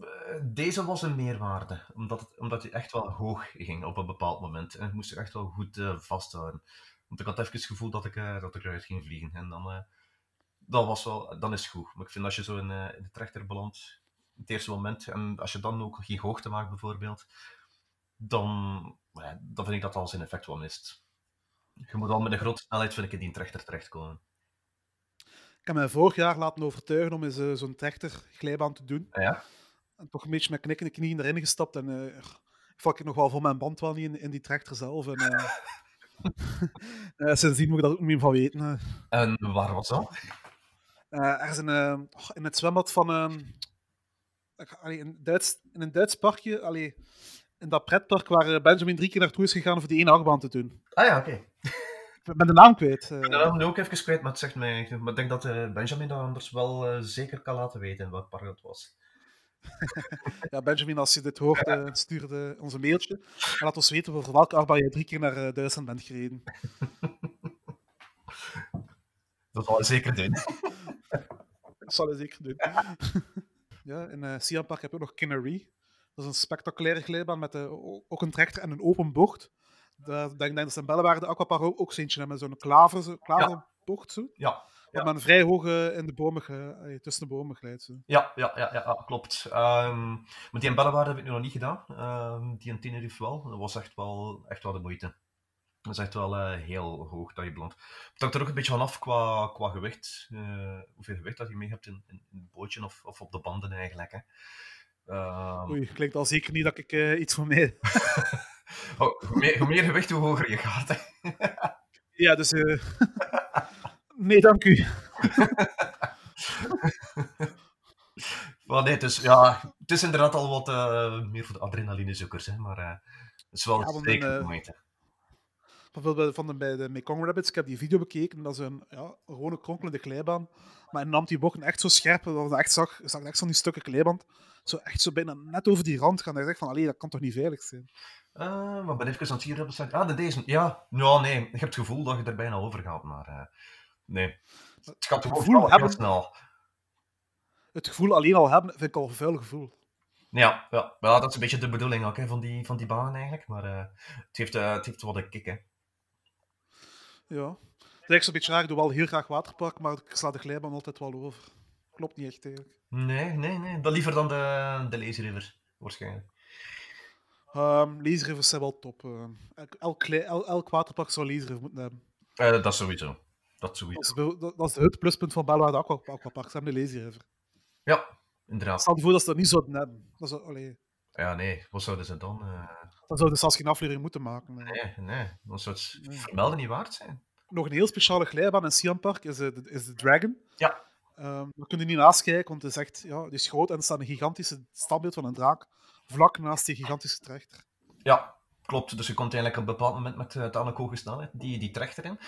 Speaker 2: Eh, Deze was een meerwaarde, omdat, het, omdat hij echt wel hoog ging op een bepaald moment. En ik moest er echt wel goed eh, vasthouden. Want ik had even het gevoel dat ik, eh, dat ik eruit ging vliegen. En dan, eh, dat was wel, dan is het goed. Maar ik vind als je zo in, eh, in de trechter belandt, het eerste moment, en als je dan ook geen hoogte maakt bijvoorbeeld, dan, eh, dan vind ik dat al zijn effect wel mist. Je moet al met een grote snelheid, vind ik, in die trechter terechtkomen.
Speaker 1: Ik heb mij vorig jaar laten overtuigen om eens eh, zo'n trechter glijbaan te doen.
Speaker 2: Ah Ja?
Speaker 1: En toch een beetje met knikkende knieën erin gestapt. En eh, ik val ik nog wel voor mijn band wel niet in, in die trechter zelf. En, eh, eh, sindsdien moet ik daar ook niet meer van weten. eh.
Speaker 2: En waar was dat?
Speaker 1: Eh, ergens in, eh, oh, in het zwembad van. ehm, ik ga- allee, in, Duits, in een Duits parkje. Allee, in dat pretpark waar eh, Benjamin drie keer naartoe is gegaan voor die ene achtbaan te doen.
Speaker 2: Ah ja, oké.
Speaker 1: Ik ben de naam kwijt. eh.
Speaker 2: Ja, dat ben ik ook even kwijt, maar het zegt mij eigenlijk. Maar ik denk dat eh, Benjamin dat anders wel eh, zeker kan laten weten in welk park dat was.
Speaker 1: ja, Benjamin, als je dit hoort, eh, stuur de- ons een mailtje. En laat ons weten voor welke achtbaan jij drie keer naar eh, Duitsland bent gereden.
Speaker 2: Dat zal hij zeker doen.
Speaker 1: Dat zal hij zeker doen. ja, in eh Siam Park heb je ook nog Kinnery. Dat is een spectaculaire glijbaan met eh, o- ook een trechter en een open bocht. Daar denk ik dat ze in Bellewaarde Aquaparo ook zo'n eentje hebben, zo'n klaver, zo- klaverbocht. Zo,
Speaker 2: Ja,
Speaker 1: Waar men vrij hoog eh, in de bomen, ge- eh, tussen de bomen glijdt. Zo.
Speaker 2: ja, ja, ja, ja, ja, klopt. Ehm, maar die in Bellewaarde heb ik nu nog niet gedaan. Ehm, die in Tenerife wel. Dat was echt wel, echt wel de moeite. Dat is echt wel eh, heel hoog dat je belandt. Het hangt er ook een beetje van af qua, qua gewicht. eh, hoeveel gewicht dat je mee hebt in, in, in het bootje of, of op de banden eigenlijk. Hè. Ehm,
Speaker 1: Oei, klinkt al zeker niet dat ik eh, iets van mee.
Speaker 2: oh, hoe, meer, hoe meer gewicht, hoe hoger je gaat. Hè.
Speaker 1: Ja, dus. eh, nee, dank u.
Speaker 2: Maar nee, het is, ja, het is inderdaad al wat eh, meer voor de adrenalinezoekers. Hè, maar eh, het is wel
Speaker 1: Ja, want
Speaker 2: zeker
Speaker 1: een,
Speaker 2: de
Speaker 1: eh,
Speaker 2: moeite.
Speaker 1: Bijvoorbeeld van de, bij de Mekong Rabbits, ik heb die video bekeken, dat is een ja, gewone kronkelende glijbaan. Maar hij nam die bochten echt zo scherp, dat je echt zag, je zag echt van die stukken glijband, zo echt zo bijna net over die rand gaan. Hij zegt van, allee, dat kan toch niet veilig zijn?
Speaker 2: Eh, maar ben even aan het hier hebben staan. Ah, de deze. Ja, nou nee. Ik heb het gevoel dat je er bijna over gaat, maar eh, nee. Het
Speaker 1: Het
Speaker 2: gaat toch
Speaker 1: gevoel
Speaker 2: wel heel
Speaker 1: hebben-
Speaker 2: snel.
Speaker 1: Het gevoel alleen al hebben, vind ik al een vuil gevoel.
Speaker 2: Ja, ja, ja, dat is een beetje de bedoeling ook, hè, van, die, van die banen eigenlijk. Maar eh, het, heeft, eh, het heeft wat een kick, hè.
Speaker 1: Ja. Het lijkt zo'n beetje raar, ik doe wel heel graag waterpark, maar ik sla de glijbaan altijd wel over. Klopt niet echt eigenlijk.
Speaker 2: Nee, nee, nee. Dat liever dan de, de Lazy River, waarschijnlijk.
Speaker 1: Ehm laserrivers zijn wel top. eh. elk, elk, klei- el- elk waterpark zou laserriver moeten hebben.
Speaker 2: Eh, dat sowieso. Dat sowieso.
Speaker 1: Dat is, bijvo- dat, dat is het pluspunt van Belwaarde Aqua, Aquapark, ze hebben de laserriver.
Speaker 2: Ja, inderdaad.
Speaker 1: Stel je voor dat ze dat niet zouden hebben. Dat zou, allee,
Speaker 2: Ja, nee. Wat zouden ze dan... eh,
Speaker 1: dan zouden ze zelfs geen aflevering moeten maken. eh.
Speaker 2: nee, nee. Dat zou het
Speaker 1: Nee.
Speaker 2: vermelden niet waard zijn.
Speaker 1: Nog een heel speciale glijbaan in Siam Park is, eh, de, is de Dragon.
Speaker 2: Ja.
Speaker 1: Ehm, daar kun je niet naast kijken, want het is echt ja, het is groot en er staat een gigantische standbeeld van een draak vlak naast die gigantische trechter.
Speaker 2: Ja, klopt. Dus je komt eigenlijk op een bepaald moment met eh, tamelijk hoge snelheid, die, die trechter in.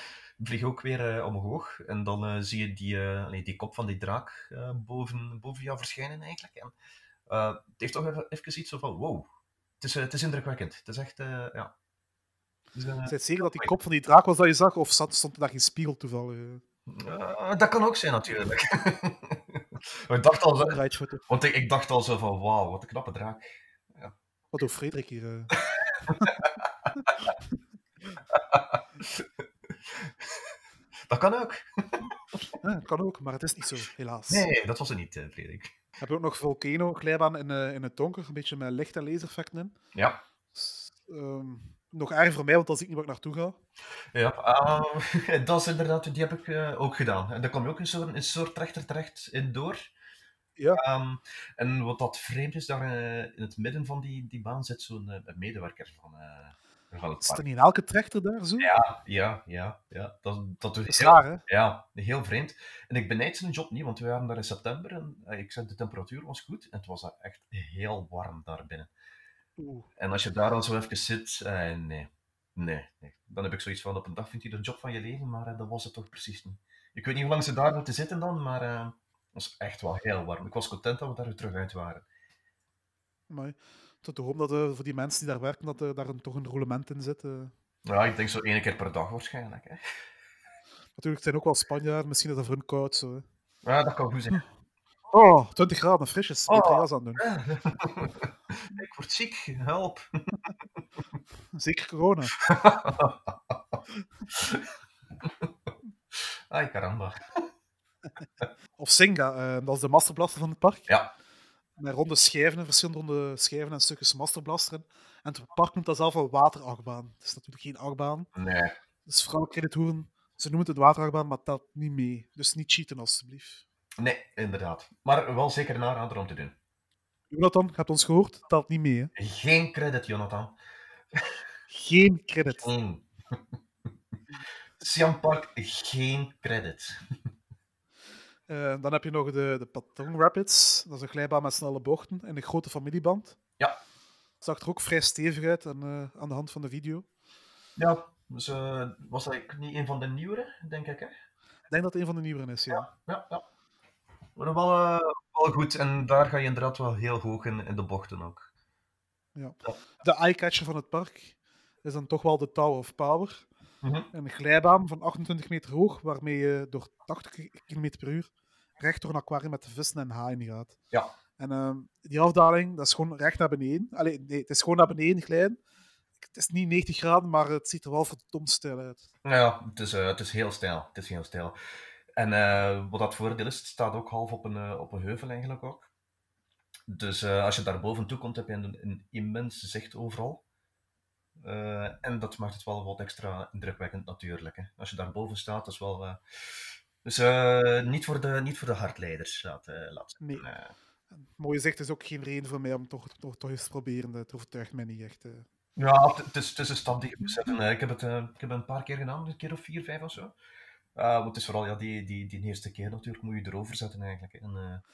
Speaker 2: Vlieg ook weer eh, omhoog. En dan eh, zie je die, eh, allee, die kop van die draak eh, boven, boven jou verschijnen eigenlijk. En, eh, het heeft toch even, even iets zo van, wow. Het is, eh, het is indrukwekkend. Het is echt, eh, ja. Dus, eh,
Speaker 1: Je bent zeker dat die kop van die draak was dat je zag, of zat, stond er daar geen spiegel toevallig? eh?
Speaker 2: eh, dat kan ook zijn natuurlijk. ik dacht al, zo-
Speaker 1: Right foto.
Speaker 2: want ik, ik dacht al zo van, wauw, wat een knappe draak.
Speaker 1: Wat doet Frederik hier? eh?
Speaker 2: Dat kan ook.
Speaker 1: Ja, kan ook, maar het is niet zo, helaas.
Speaker 2: Nee, dat was het niet, eh, Frederik.
Speaker 1: Heb je ook nog Volcano-glijbaan in, eh, in het donker, een beetje met licht- en lasereffecten in.
Speaker 2: Ja.
Speaker 1: S- ehm, nog erg voor mij, want dan zie ik niet waar ik naartoe ga.
Speaker 2: Ja, ehm, dat is inderdaad, die heb ik eh, ook gedaan. En daar kwam je ook in zo'n in soort trechter terecht in door.
Speaker 1: Ja.
Speaker 2: Ehm, en wat dat vreemd is, daar eh, in het midden van die, die baan zit zo'n eh, een medewerker van, eh, van het
Speaker 1: Zit er
Speaker 2: park.
Speaker 1: niet in elke trechter daar zo?
Speaker 2: Ja, ja, ja. Dat, dat doet
Speaker 1: Dat is
Speaker 2: heel,
Speaker 1: raar, hè?
Speaker 2: ja, heel vreemd. En ik benijd zijn job niet, want we waren daar in september en eh, ik zei, de temperatuur was goed en het was daar echt heel warm daar binnen.
Speaker 1: Oeh.
Speaker 2: En als je daar dan zo even zit, eh, nee. nee. Nee. Dan heb ik zoiets van, op een dag vindt hij de job van je leven, maar eh, dat was het toch precies niet. Ik weet niet hoe lang ze daar moeten zitten dan, maar eh, het was echt wel heel warm. Ik was content dat we daar weer terug uit waren.
Speaker 1: Amai. Tot de hoop dat eh, voor die mensen die daar werken, dat er daar een, toch een roulement in zit. eh.
Speaker 2: Ja, ik denk zo één keer per dag waarschijnlijk. Hè.
Speaker 1: Natuurlijk het zijn ook wel Spanjaarden, misschien is dat voor hun koud zo. Hè.
Speaker 2: Ja, dat kan goed zijn.
Speaker 1: Oh, 20 graden, frisjes.
Speaker 2: Oh.
Speaker 1: Beter jas aan doen.
Speaker 2: ik word ziek, help.
Speaker 1: Zeker corona.
Speaker 2: Ai, caramba.
Speaker 1: Of Singa, eh, dat is de masterblaster van het park.
Speaker 2: Ja.
Speaker 1: Met ronde schijven, verschillende ronde schijven en stukjes masterblaster in. En het park noemt dat zelf een waterachtbaan. Het is natuurlijk geen achtbaan.
Speaker 2: Nee.
Speaker 1: Dus vooral kreditoren, ze noemen het een waterachtbaan, maar telt niet mee. Dus niet cheaten, alstublieft.
Speaker 2: Nee, inderdaad. Maar wel zeker een aanrader om te doen.
Speaker 1: Jonathan, je hebt ons gehoord, telt niet mee. Hè.
Speaker 2: Geen credit, Jonathan.
Speaker 1: Geen credit.
Speaker 2: Mm. Siam Park, geen credit.
Speaker 1: Eh, dan heb je nog de, de Patong Rapids. Dat is een glijbaan met snelle bochten en een grote familieband.
Speaker 2: Ja.
Speaker 1: Zag er ook vrij stevig uit aan, eh, aan de hand van de video.
Speaker 2: Ja, dus, eh, was dat ook niet een van de nieuwere, denk ik, hè?
Speaker 1: Ik denk dat het een van de nieuweren is, ja.
Speaker 2: Ja, ja. Maar wel, eh, wel goed, en daar ga je inderdaad wel heel hoog in, in de bochten ook.
Speaker 1: ja. De eyecatcher van het park is dan toch wel de Tower of Power.
Speaker 2: Mhm.
Speaker 1: Een glijbaan van 28 meter hoog, waarmee je door 80 km per uur recht door een aquarium met vissen en haaien gaat.
Speaker 2: Ja.
Speaker 1: En ehm, die afdaling, dat is gewoon recht naar beneden. Allee, nee, het is gewoon naar beneden glijden. Het is niet 90 graden, maar het ziet er wel verdomd stijl uit.
Speaker 2: Nou ja, het is, eh, het is heel stijl. Het is heel stijl. En eh, wat dat voordeel is, het staat ook half op een, eh, op een heuvel eigenlijk ook. Dus eh, als je daar boven toe komt, heb je een, een immens zicht overal. Eh, en dat maakt het wel wat extra indrukwekkend natuurlijk. Hè. Als je daar boven staat, dat is wel... eh, Dus eh, niet, voor de, niet voor de hardleiders, laat, eh, laat
Speaker 1: Nee.
Speaker 2: zeggen. Eh,
Speaker 1: Mooie zicht is ook geen reden voor mij om toch, toch, toch eens te proberen. Het overtuigt mij niet echt. eh.
Speaker 2: Ja, het het is, het is een stap die je moet zetten. Eh, Ik heb het eh, ik heb het een paar keer gedaan, een keer of vier, vijf of zo. Eh, want het is vooral ja, die, die, die eerste keer natuurlijk, moet je erover zetten eigenlijk. En, eh,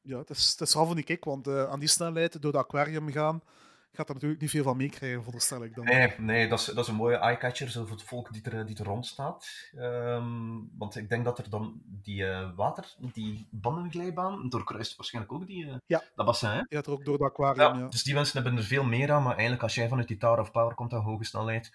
Speaker 1: Ja, het is, het is half een kick, want eh, aan die snelheid door het aquarium gaan, gaat er natuurlijk niet veel van meekrijgen, veronderstel ik dan.
Speaker 2: nee, nee dat, is, dat is een mooie eyecatcher zo voor het volk die er, die er rond staat. Ehm, want ik denk dat er dan die eh, water, die bandenglijbaan, doorkruist waarschijnlijk ook die, eh,
Speaker 1: Ja.
Speaker 2: dat bassin. Hè?
Speaker 1: Je gaat er ook door het aquarium, ja.
Speaker 2: Dus die mensen hebben er veel meer aan, maar eigenlijk als jij vanuit die Tower of Power komt aan hoge snelheid,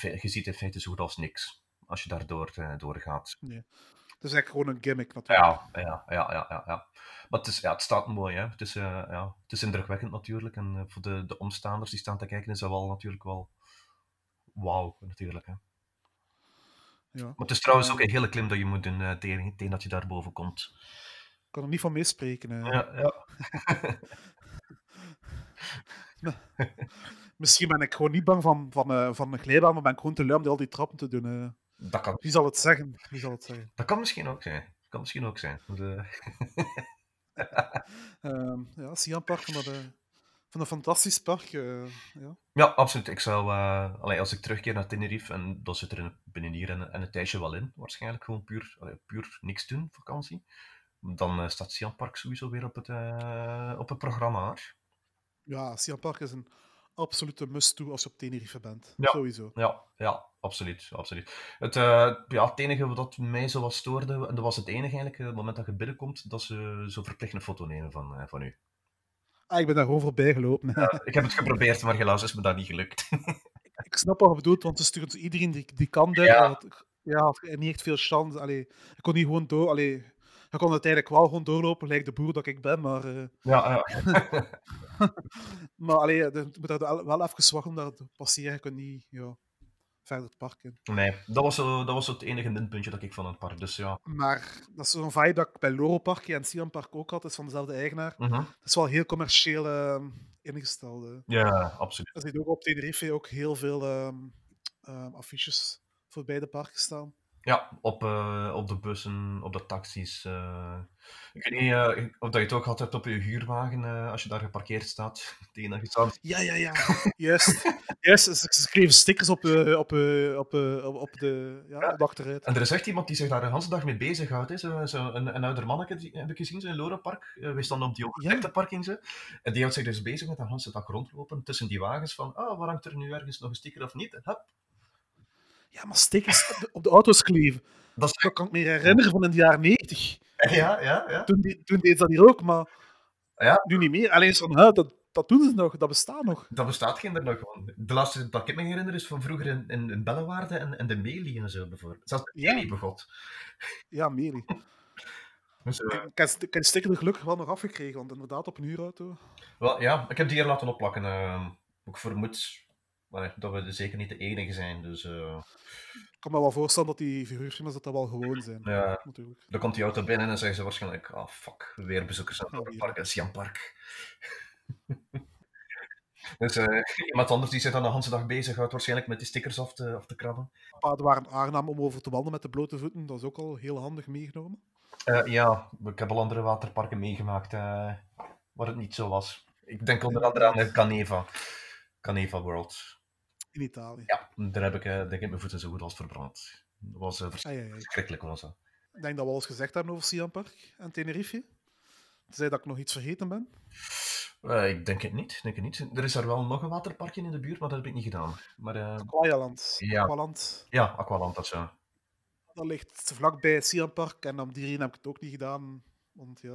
Speaker 2: je ziet in feite zo goed als niks als je daardoor eh, doorgaat.
Speaker 1: Het is eigenlijk gewoon een gimmick, natuurlijk.
Speaker 2: Ja, ja, ja, ja, ja. ja. Maar het, is, ja, het staat mooi, hè. Het is, eh, ja, het is indrukwekkend natuurlijk. En eh, voor de, de omstaanders die staan te kijken, is dat wel natuurlijk wel wauw, natuurlijk. Hè.
Speaker 1: Ja.
Speaker 2: Maar het is trouwens ook een hele klim dat je moet doen eh, tegen, tegen dat je daarboven komt.
Speaker 1: Ik kan er niet van meespreken. eh.
Speaker 2: Ja, ja.
Speaker 1: Misschien ben ik gewoon niet bang van, van, eh, van een glijbaan, maar ben ik gewoon te lui om al die trappen te doen. eh.
Speaker 2: Dat, kan,
Speaker 1: Wie zal het zeggen? Wie zal het zeggen?
Speaker 2: dat kan misschien ook zijn. Dat kan misschien ook zijn. Dus, eh,
Speaker 1: Ehm, ja, Sian Park van dat, eh, van een fantastisch park. eh, ja.
Speaker 2: ja, absoluut. Ik zou, eh, allee, als ik terugkeer naar Tenerife, en dat zit er in- binnen hier en, en een tijdje wel in, waarschijnlijk gewoon puur, allee, puur niks doen, vakantie. Dan eh, staat Sian Park sowieso weer op het, eh, op het programma. Hoor.
Speaker 1: ja, Sian Park is een absolute must-do als je op Tenerife bent.
Speaker 2: Ja.
Speaker 1: Sowieso.
Speaker 2: Ja, ja, absoluut. absoluut. Het, eh, ja, het enige wat mij zo wat stoorde, en dat was het enige eigenlijk, eh, het moment dat je binnenkomt, dat ze zo verplicht een foto nemen van, eh, van u.
Speaker 1: Ah, ik ben daar gewoon voorbij gelopen.
Speaker 2: Eh, ik heb het geprobeerd, maar helaas is me dat niet gelukt.
Speaker 1: ik snap wat je bedoelt, want ze sturen zo iedereen die, die kan dit.
Speaker 2: Ja.
Speaker 1: Ja. Had, ja, had niet echt veel chance. Allee, ik kon niet gewoon door. Allee, ik kon uiteindelijk wel gewoon doorlopen, lijkt de boer dat ik ben. Maar, eh,
Speaker 2: ja, ja.
Speaker 1: maar allee, je moet daar wel- wel even wachten om daar te passeren. Je kunt niet ja, verder het park in.
Speaker 2: Nee, dat was, zo, dat was zo het enige minpuntje dat ik van het park. Dus ja.
Speaker 1: Maar dat is zo'n vibe dat ik bij Loro Park en Sian Park ook had. Het is van dezelfde eigenaar.
Speaker 2: Mhm.
Speaker 1: Het is wel heel commercieel ehm, ingesteld. eh.
Speaker 2: Ja, absoluut.
Speaker 1: Er zit ook op Tenerife ook heel veel ehm, ehm, affiches voor beide parken staan.
Speaker 2: Ja, op, eh, op de bussen, op de taxis. eh. Ik weet niet eh, of dat je het ook gehad hebt op je huurwagen, eh, als je daar geparkeerd staat. Tegen dat je staat.
Speaker 1: Ja, ja, ja. Juist. Juist, ze ze schreven stickers op, eh, op, eh, op, eh, op, op de, ja, op de achteruit.
Speaker 2: En er is echt iemand die zich daar de hele dag mee bezighoudt. hè. Zo, zo een, een ouder manneke die, heb ik gezien zo in Lorenpark. Eh, We stonden op die overdekte parking. Zo. En die houdt zich dus bezig met de hele dag rondlopen tussen die wagens. Van, ah, waar hangt er nu ergens nog een sticker of niet? Hup.
Speaker 1: Ja, maar stickers op de, op de auto's kleven.
Speaker 2: Dat is,
Speaker 1: Dat kan ik me herinneren van in de jaren 90.
Speaker 2: ja, ja, ja.
Speaker 1: Toen, die- toen deden ze dat hier ook, maar
Speaker 2: Ja.
Speaker 1: nu niet meer. Alleen is van, hè, dat, dat doen ze nog, dat bestaat nog.
Speaker 2: Dat bestaat geen er nog gewoon. De laatste dat ik me herinner is van vroeger in, in, in Bellewaarde en, en de Meli en zo bijvoorbeeld. Zelfs de
Speaker 1: Ja.
Speaker 2: Meli begot.
Speaker 1: Ja, Meli.
Speaker 2: Dus, eh,
Speaker 1: Ik, ik heb- ik heb die sticker er gelukkig wel nog afgekregen, want inderdaad, op een huurauto.
Speaker 2: wel, ja, ik heb die hier laten opplakken. eh. ik vermoed eh, dat we zeker niet de enige zijn. Dus eh,
Speaker 1: Ik kan me wel voorstellen dat die verhuurfirma's dat, dat wel gewoon zijn.
Speaker 2: Ja.
Speaker 1: Natuurlijk.
Speaker 2: Dan komt die auto binnen en zeggen ze waarschijnlijk: ah fuck, weer bezoekers aan het
Speaker 1: Oh, ja.
Speaker 2: park, het Siam Park. dus eh, iemand anders die zich dan de hele dag bezighoudt, waarschijnlijk met die stickers af te, af te krabben.
Speaker 1: Paden waren aangenaam om over te wandelen met de blote voeten. Dat is ook al heel handig meegenomen.
Speaker 2: Eh, ja, ik heb al andere waterparken meegemaakt eh, waar het niet zo was. Ik denk onder andere aan de Caneva. Caneva World.
Speaker 1: In Italië.
Speaker 2: Ja, daar heb ik, eh, denk ik mijn voeten zo goed als verbrand. Dat was eh,
Speaker 1: Ai, ai, ai.
Speaker 2: verschrikkelijk, was dat.
Speaker 1: Ik denk dat we alles gezegd hebben over Sian Park en Tenerife. Zei dat ik nog iets vergeten ben.
Speaker 2: Eh, ik denk het niet, denk het niet. Er is daar wel nog een waterparkje in de buurt, maar dat heb ik niet gedaan. Maar eh,
Speaker 1: Aqualand.
Speaker 2: Ja.
Speaker 1: Aqualand.
Speaker 2: ja, Aqualand of zo.
Speaker 1: Dat ligt vlakbij het Sian Park en om die reden heb ik het ook niet gedaan. Want ja,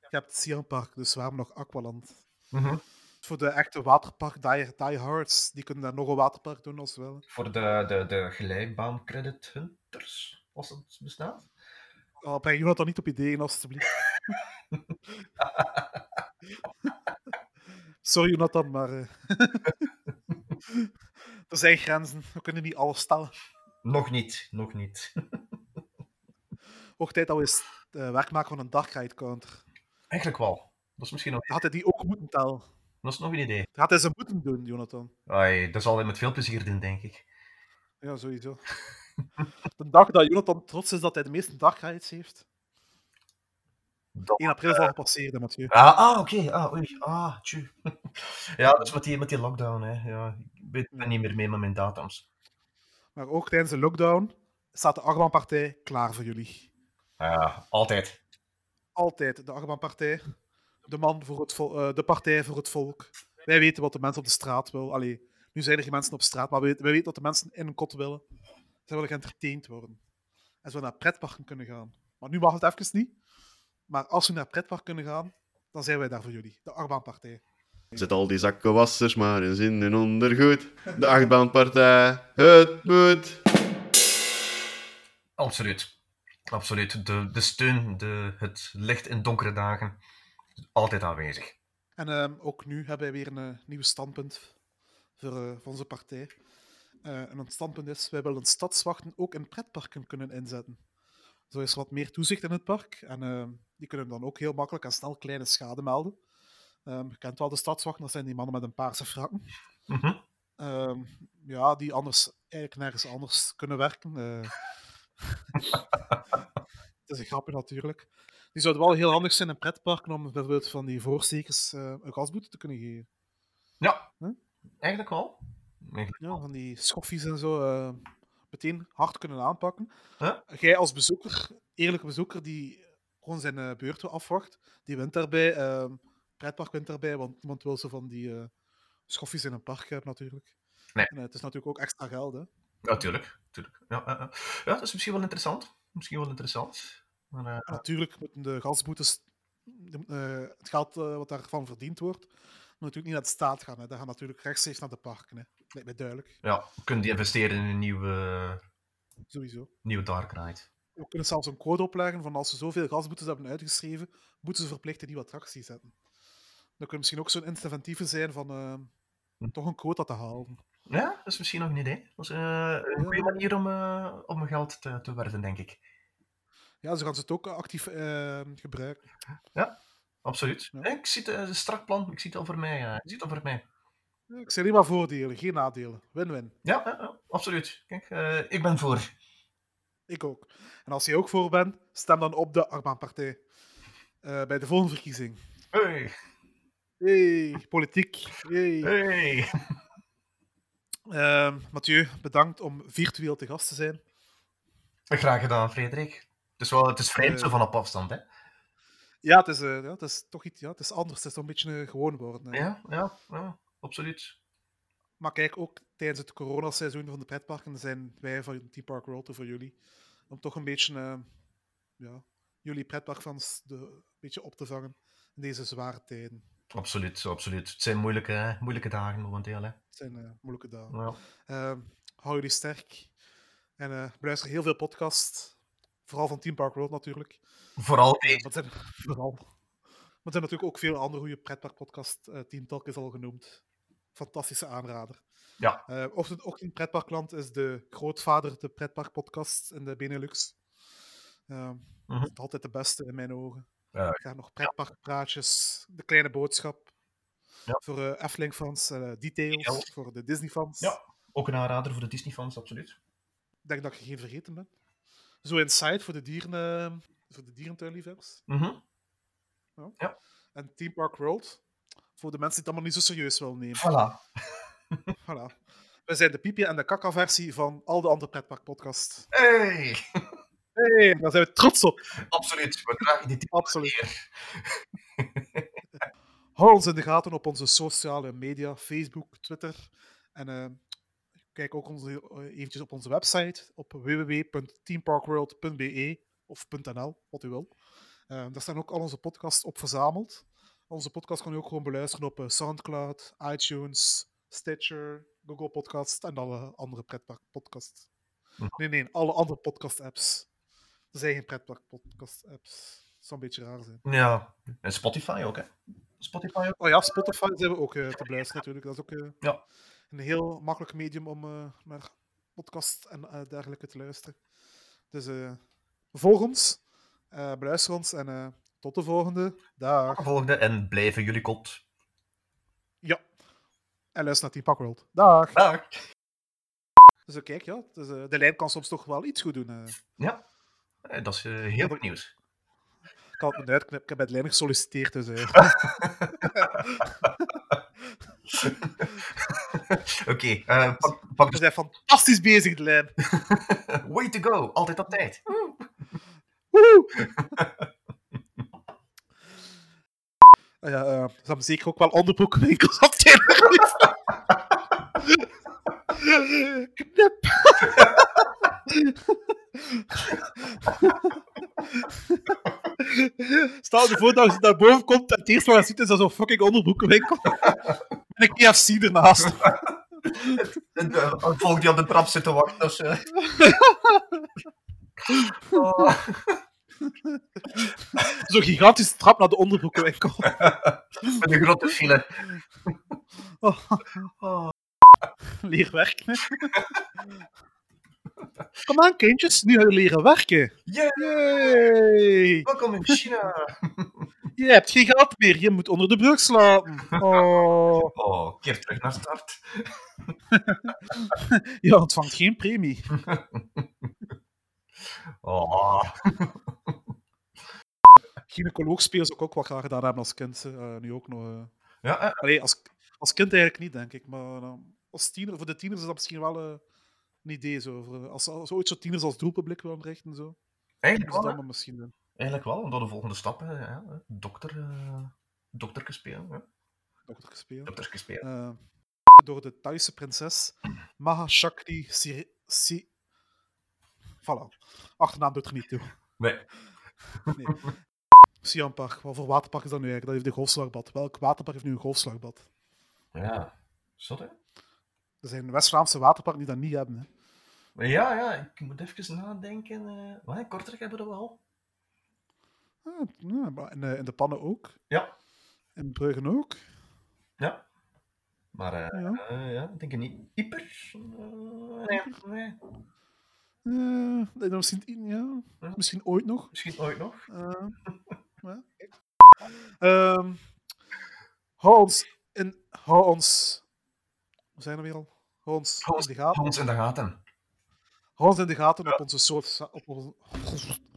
Speaker 1: je hebt het Sian Park, dus waarom nog Aqualand?
Speaker 2: Mhm.
Speaker 1: Voor de echte waterpark die, diehards, die kunnen daar nog een waterpark doen als ze willen.
Speaker 2: Voor de, de, de glijbaan credit hunters, als dat bestaat.
Speaker 1: Oh, breng je dat dan niet op ideeën, alstublieft. Sorry, Jonathan, maar. eh, er zijn grenzen. We kunnen niet alles stellen.
Speaker 2: Nog niet, nog niet.
Speaker 1: Hoog tijd dat we eens eh, werk maken van een Dark Ride counter.
Speaker 2: Eigenlijk wel. Dat is misschien nog,
Speaker 1: Dan had hij die ook moeten tellen.
Speaker 2: dat is nog een idee.
Speaker 1: Dan had hij ze moeten doen, Jonathan.
Speaker 2: Ai, dat zal hij met veel plezier doen, denk ik.
Speaker 1: Ja, sowieso. De dag dat Jonathan trots is dat hij de meeste Dark Rides heeft.
Speaker 2: Dat-
Speaker 1: 1 april zal gepasseerd, hè, Mathieu.
Speaker 2: Ah, ah oké. Ah, oei. Ah, tju. ja, dat is met die, met die lockdown, hè. Ja, ik ben- ben niet meer mee met mijn datums.
Speaker 1: Maar ook tijdens de lockdown staat de Arban-partij klaar voor jullie.
Speaker 2: Ja, Ah, altijd.
Speaker 1: Altijd de Arban-partij. De, man voor het vol- eh, de partij voor het volk. Wij weten wat de mensen op de straat willen. Allee, nu zijn er geen mensen op straat, maar wij, wij weten wat de mensen in een kot willen. Ze willen geëntertaind worden. En ze willen naar pretparken kunnen gaan. Maar nu mag het even niet. Maar als we naar pretpark kunnen gaan, dan zijn wij daar voor jullie. De Arban-partij.
Speaker 3: Zet al die zakkenwassers maar eens in hun ondergoed. De achtbaanpartij, het moet.
Speaker 2: Absoluut. Absoluut. De, de steun, de, het licht in donkere dagen, altijd aanwezig.
Speaker 1: En ehm, ook nu hebben wij weer een eh, nieuw standpunt voor, eh, voor onze partij. Eh, en ons standpunt is, wij willen stadswachten ook in pretparken kunnen inzetten. Zo is er wat meer toezicht in het park. En ehm, die kunnen dan ook heel makkelijk en snel kleine schade melden. Ehm je kent wel de stadswachten, dat zijn die mannen met een paarse frakken.
Speaker 2: Mhm.
Speaker 1: Ehm, ja, die anders eigenlijk nergens anders kunnen werken. eh. het is een grapje natuurlijk. Die zouden wel heel handig zijn in pretparken om bijvoorbeeld van die voorstekers eh, een gasboete te kunnen geven.
Speaker 2: Ja,
Speaker 1: Huh?
Speaker 2: eigenlijk wel. Eigenlijk
Speaker 1: Ja, van die schoffies en zo eh, meteen hard kunnen aanpakken.
Speaker 2: Huh?
Speaker 1: Jij als bezoeker, eerlijke bezoeker, die gewoon zijn eh, beurt wel afwacht, die wint daarbij. eh, pretpark wint daarbij, want niemand wil zo van die eh, schoffies in een park hebben natuurlijk.
Speaker 2: Nee.
Speaker 1: En, eh, het is natuurlijk ook extra geld, hè.
Speaker 2: Ja, tuurlijk. tuurlijk. Ja, eh, eh. ja, dat is misschien wel interessant. Misschien wel interessant. Maar, eh,
Speaker 1: En natuurlijk moeten de gasboetes, de- eh, het geld eh, wat daarvan verdiend wordt, moet natuurlijk niet naar de staat gaan. Hè. Dat gaat natuurlijk rechtstreeks naar de parken. Hè. Lijkt mij duidelijk,
Speaker 2: ja, we kunnen die investeren in een nieuwe,
Speaker 1: sowieso.
Speaker 2: nieuwe Dark Knight.
Speaker 1: We kunnen zelfs een code opleggen van als ze zoveel gasboetes hebben uitgeschreven, moeten ze verplicht een nieuwe attractie zetten. Dat kan misschien ook zo'n incentieve zijn van eh, toch een quota te halen.
Speaker 2: Ja, dat is misschien nog een idee. Dat is eh, een goede manier om, eh, om mijn geld te, te werven, denk ik.
Speaker 1: Ja, zo gaan ze het ook eh, actief eh, gebruiken.
Speaker 2: Absoluut.
Speaker 1: Ja.
Speaker 2: Eh, Ik zie het eh, een strak plan. Ik zie het al voor mij. eh, ik zie het al voor mij.
Speaker 1: Ja, ik zie alleen maar voordelen, geen nadelen. Win-win.
Speaker 2: Ja, ja, ja, absoluut. Kijk, eh, ik ben voor.
Speaker 1: Ik ook. En als je ook voor bent, stem dan op de Arbaanpartij. partij bij de volgende verkiezing.
Speaker 2: Hey,
Speaker 1: Hey, politiek. Hey.
Speaker 2: hey.
Speaker 1: Ehm, Mathieu, bedankt om virtueel te gast te zijn.
Speaker 2: Graag gedaan, Frederik. Het is, wel, het is vreemd
Speaker 1: Eh.
Speaker 2: zo van op afstand, hè?
Speaker 1: Ja, het is, eh, ja, het is toch iets ja, het is anders. Het is toch een beetje eh, gewoon worden. hè.
Speaker 2: Ja, ja, ja absoluut.
Speaker 1: Maar kijk, ook tijdens het coronaseizoen van de pretparken zijn wij van Team Park World er voor jullie. Om toch een beetje eh, ja, jullie pretparkfans de, een beetje op te vangen in deze zware tijden.
Speaker 2: Absoluut, absoluut. Het zijn moeilijke, moeilijke dagen momenteel, hè?
Speaker 1: Het zijn eh, moeilijke dagen.
Speaker 2: Ja.
Speaker 1: Ehm, hou jullie sterk. En eh beluister heel veel podcasts. Vooral van Team Park World natuurlijk.
Speaker 2: Vooral
Speaker 1: Eh,
Speaker 2: deze.
Speaker 1: maar het zijn, vooral. Maar er zijn natuurlijk ook veel andere goede pretparkpodcasts. eh Team Talk is al genoemd. Fantastische aanrader.
Speaker 2: Ja.
Speaker 1: Eh, of het ook in het pretparkland is de grootvader de pretparkpodcast in de Benelux. Ehm,
Speaker 2: Mhm.
Speaker 1: dat is Altijd de beste in mijn ogen.
Speaker 2: Ja.
Speaker 1: Ik ga nog pretparkpraatjes, de kleine boodschap.
Speaker 2: Ja.
Speaker 1: Voor eh Efteling-fans, eh, Details,
Speaker 2: Ja.
Speaker 1: voor de Disney-fans.
Speaker 2: Ja. Ook een aanrader voor de Disney-fans, absoluut.
Speaker 1: Ik denk dat ik er geen vergeten ben. Zo Inside voor de, dieren, eh, voor de dierentuinliefhebbers.
Speaker 2: Mhm.
Speaker 1: En Team Park World voor de mensen die het allemaal niet zo serieus willen nemen.
Speaker 2: Voilà.
Speaker 1: Voilà. We zijn de piepje en de kakka-versie van al de andere pretparkpodcasts.
Speaker 2: Hey!
Speaker 1: Hey, daar zijn we trots op.
Speaker 2: Absoluut, we dragen die titel
Speaker 1: Absoluut.
Speaker 2: eer.
Speaker 1: Hou ons in de gaten op onze sociale media, Facebook, Twitter. En eh, kijk ook onze, eh, eventjes op onze website op www.teamparkworld.be of .nl, wat u wil. Eh, daar staan ook al onze podcasts op verzameld. Onze podcast kan u ook gewoon beluisteren op eh, Soundcloud, iTunes, Stitcher, Google Podcast en alle andere pretparkpodcasts.
Speaker 2: Mhm.
Speaker 1: Nee, nee, alle andere podcast-apps. Er zijn geen pretparkpodcast-apps. zou een beetje raar zijn.
Speaker 2: Ja. En Spotify ook, hè? Spotify ook.
Speaker 1: Oh ja, Spotify zijn we ook eh, te beluisteren natuurlijk. Dat is ook eh,
Speaker 2: Ja.
Speaker 1: een heel makkelijk medium om eh, naar podcast en eh, dergelijke te luisteren. Dus eh volg ons, eh, beluister ons en eh, tot de volgende. Dag.
Speaker 2: Volgende en blijven jullie kot.
Speaker 1: Ja. En luister naar Team Packworld. Dag.
Speaker 2: Dag.
Speaker 1: Dus eh, kijk, ja, dus, eh, de lijn kan soms toch wel iets goed doen. eh.
Speaker 2: Ja. Eh, Dat is eh, heel goed nieuws.
Speaker 1: Ik kan het me uitknippen. Ik heb bij de lijn gesolliciteerd. Dus, eh.
Speaker 2: Oké, eh, pak, pak
Speaker 1: We
Speaker 2: de...
Speaker 1: zijn fantastisch bezig, de lijn.
Speaker 2: Way to go! Altijd op tijd.
Speaker 1: Woehoe! Ah ja, eh, ze hebben zeker ook wel onderbroekwinkels op televisie. Knip. Stel je voor dat ze naar boven komt en het eerste wat je ziet is dat zo'n fucking onderbroekenwinkel. En een KFC ernaast.
Speaker 2: En, eh, Een volk die op de trap zit te wachten. Dus, eh. Oh.
Speaker 1: Zo'n gigantische trap naar de onderbroekenwinkel.
Speaker 2: Met een grote file.
Speaker 1: Leer werken. Kom aan, kindjes, nu gaan we leren werken.
Speaker 2: Yeah,
Speaker 1: Yay!
Speaker 2: welkom in China.
Speaker 1: Je hebt geen gat meer, je moet onder de brug slapen. Oh,
Speaker 2: Oh, keer terug naar start.
Speaker 1: je ontvangt geen premie.
Speaker 2: Oh.
Speaker 1: Gynaecoloog spelen zou ik ook wel graag gedaan hebben als kind. eh, nu ook nog. eh.
Speaker 2: Ja, eh,
Speaker 1: Allee, als, als kind eigenlijk niet, denk ik. Maar eh, als tiener, voor de tieners is dat misschien wel eh, een idee. Zo. Voor, eh, als, als ooit zo tieners als doelpubliek willen richten, zo.
Speaker 2: eigenlijk
Speaker 1: Is
Speaker 2: wel.
Speaker 1: dat
Speaker 2: hè.
Speaker 1: maar misschien eh, doen.
Speaker 2: Eigenlijk wel, omdat de volgende stappen, ja, dokter, eh dokterke spelen. hè.
Speaker 1: Dokter spelen.
Speaker 2: Dokterke spelen.
Speaker 1: eh, door de Thaise prinses Mahashakti Si... si voilà. Achternaam doet er niet toe.
Speaker 2: Nee.
Speaker 1: Nee. Siampark. Wat voor waterpark is dat nu eigenlijk? Dat heeft een golfslagbad. Welk waterpark heeft nu een golfslagbad?
Speaker 2: Ja. Zot, hè?
Speaker 1: Er zijn West-Vlaamse waterparken die dat niet hebben. Hè.
Speaker 2: Ja, ja, ik moet even nadenken. eh wat, in Kortrijk hebben we dat wel.
Speaker 1: Ah, ja, maar in, eh, in de Pannen ook.
Speaker 2: Ja.
Speaker 1: In Bruggen ook.
Speaker 2: Ja. Maar eh,
Speaker 1: Ja.
Speaker 2: eh, ja, ik denk het niet. Ieper? Eh, nee, nee.
Speaker 1: Eh, dat is misschien, ja,
Speaker 2: Ja.
Speaker 1: misschien ooit nog.
Speaker 2: Misschien ooit nog.
Speaker 1: Eh, ja, kijk. Ehm, hou ons in. Hou ons. We zijn er weer al. Hou ons
Speaker 2: Hou ons-
Speaker 1: in de gaten.
Speaker 2: Hans in de gaten.
Speaker 1: Hou ons in de gaten op onze soort. Op onze...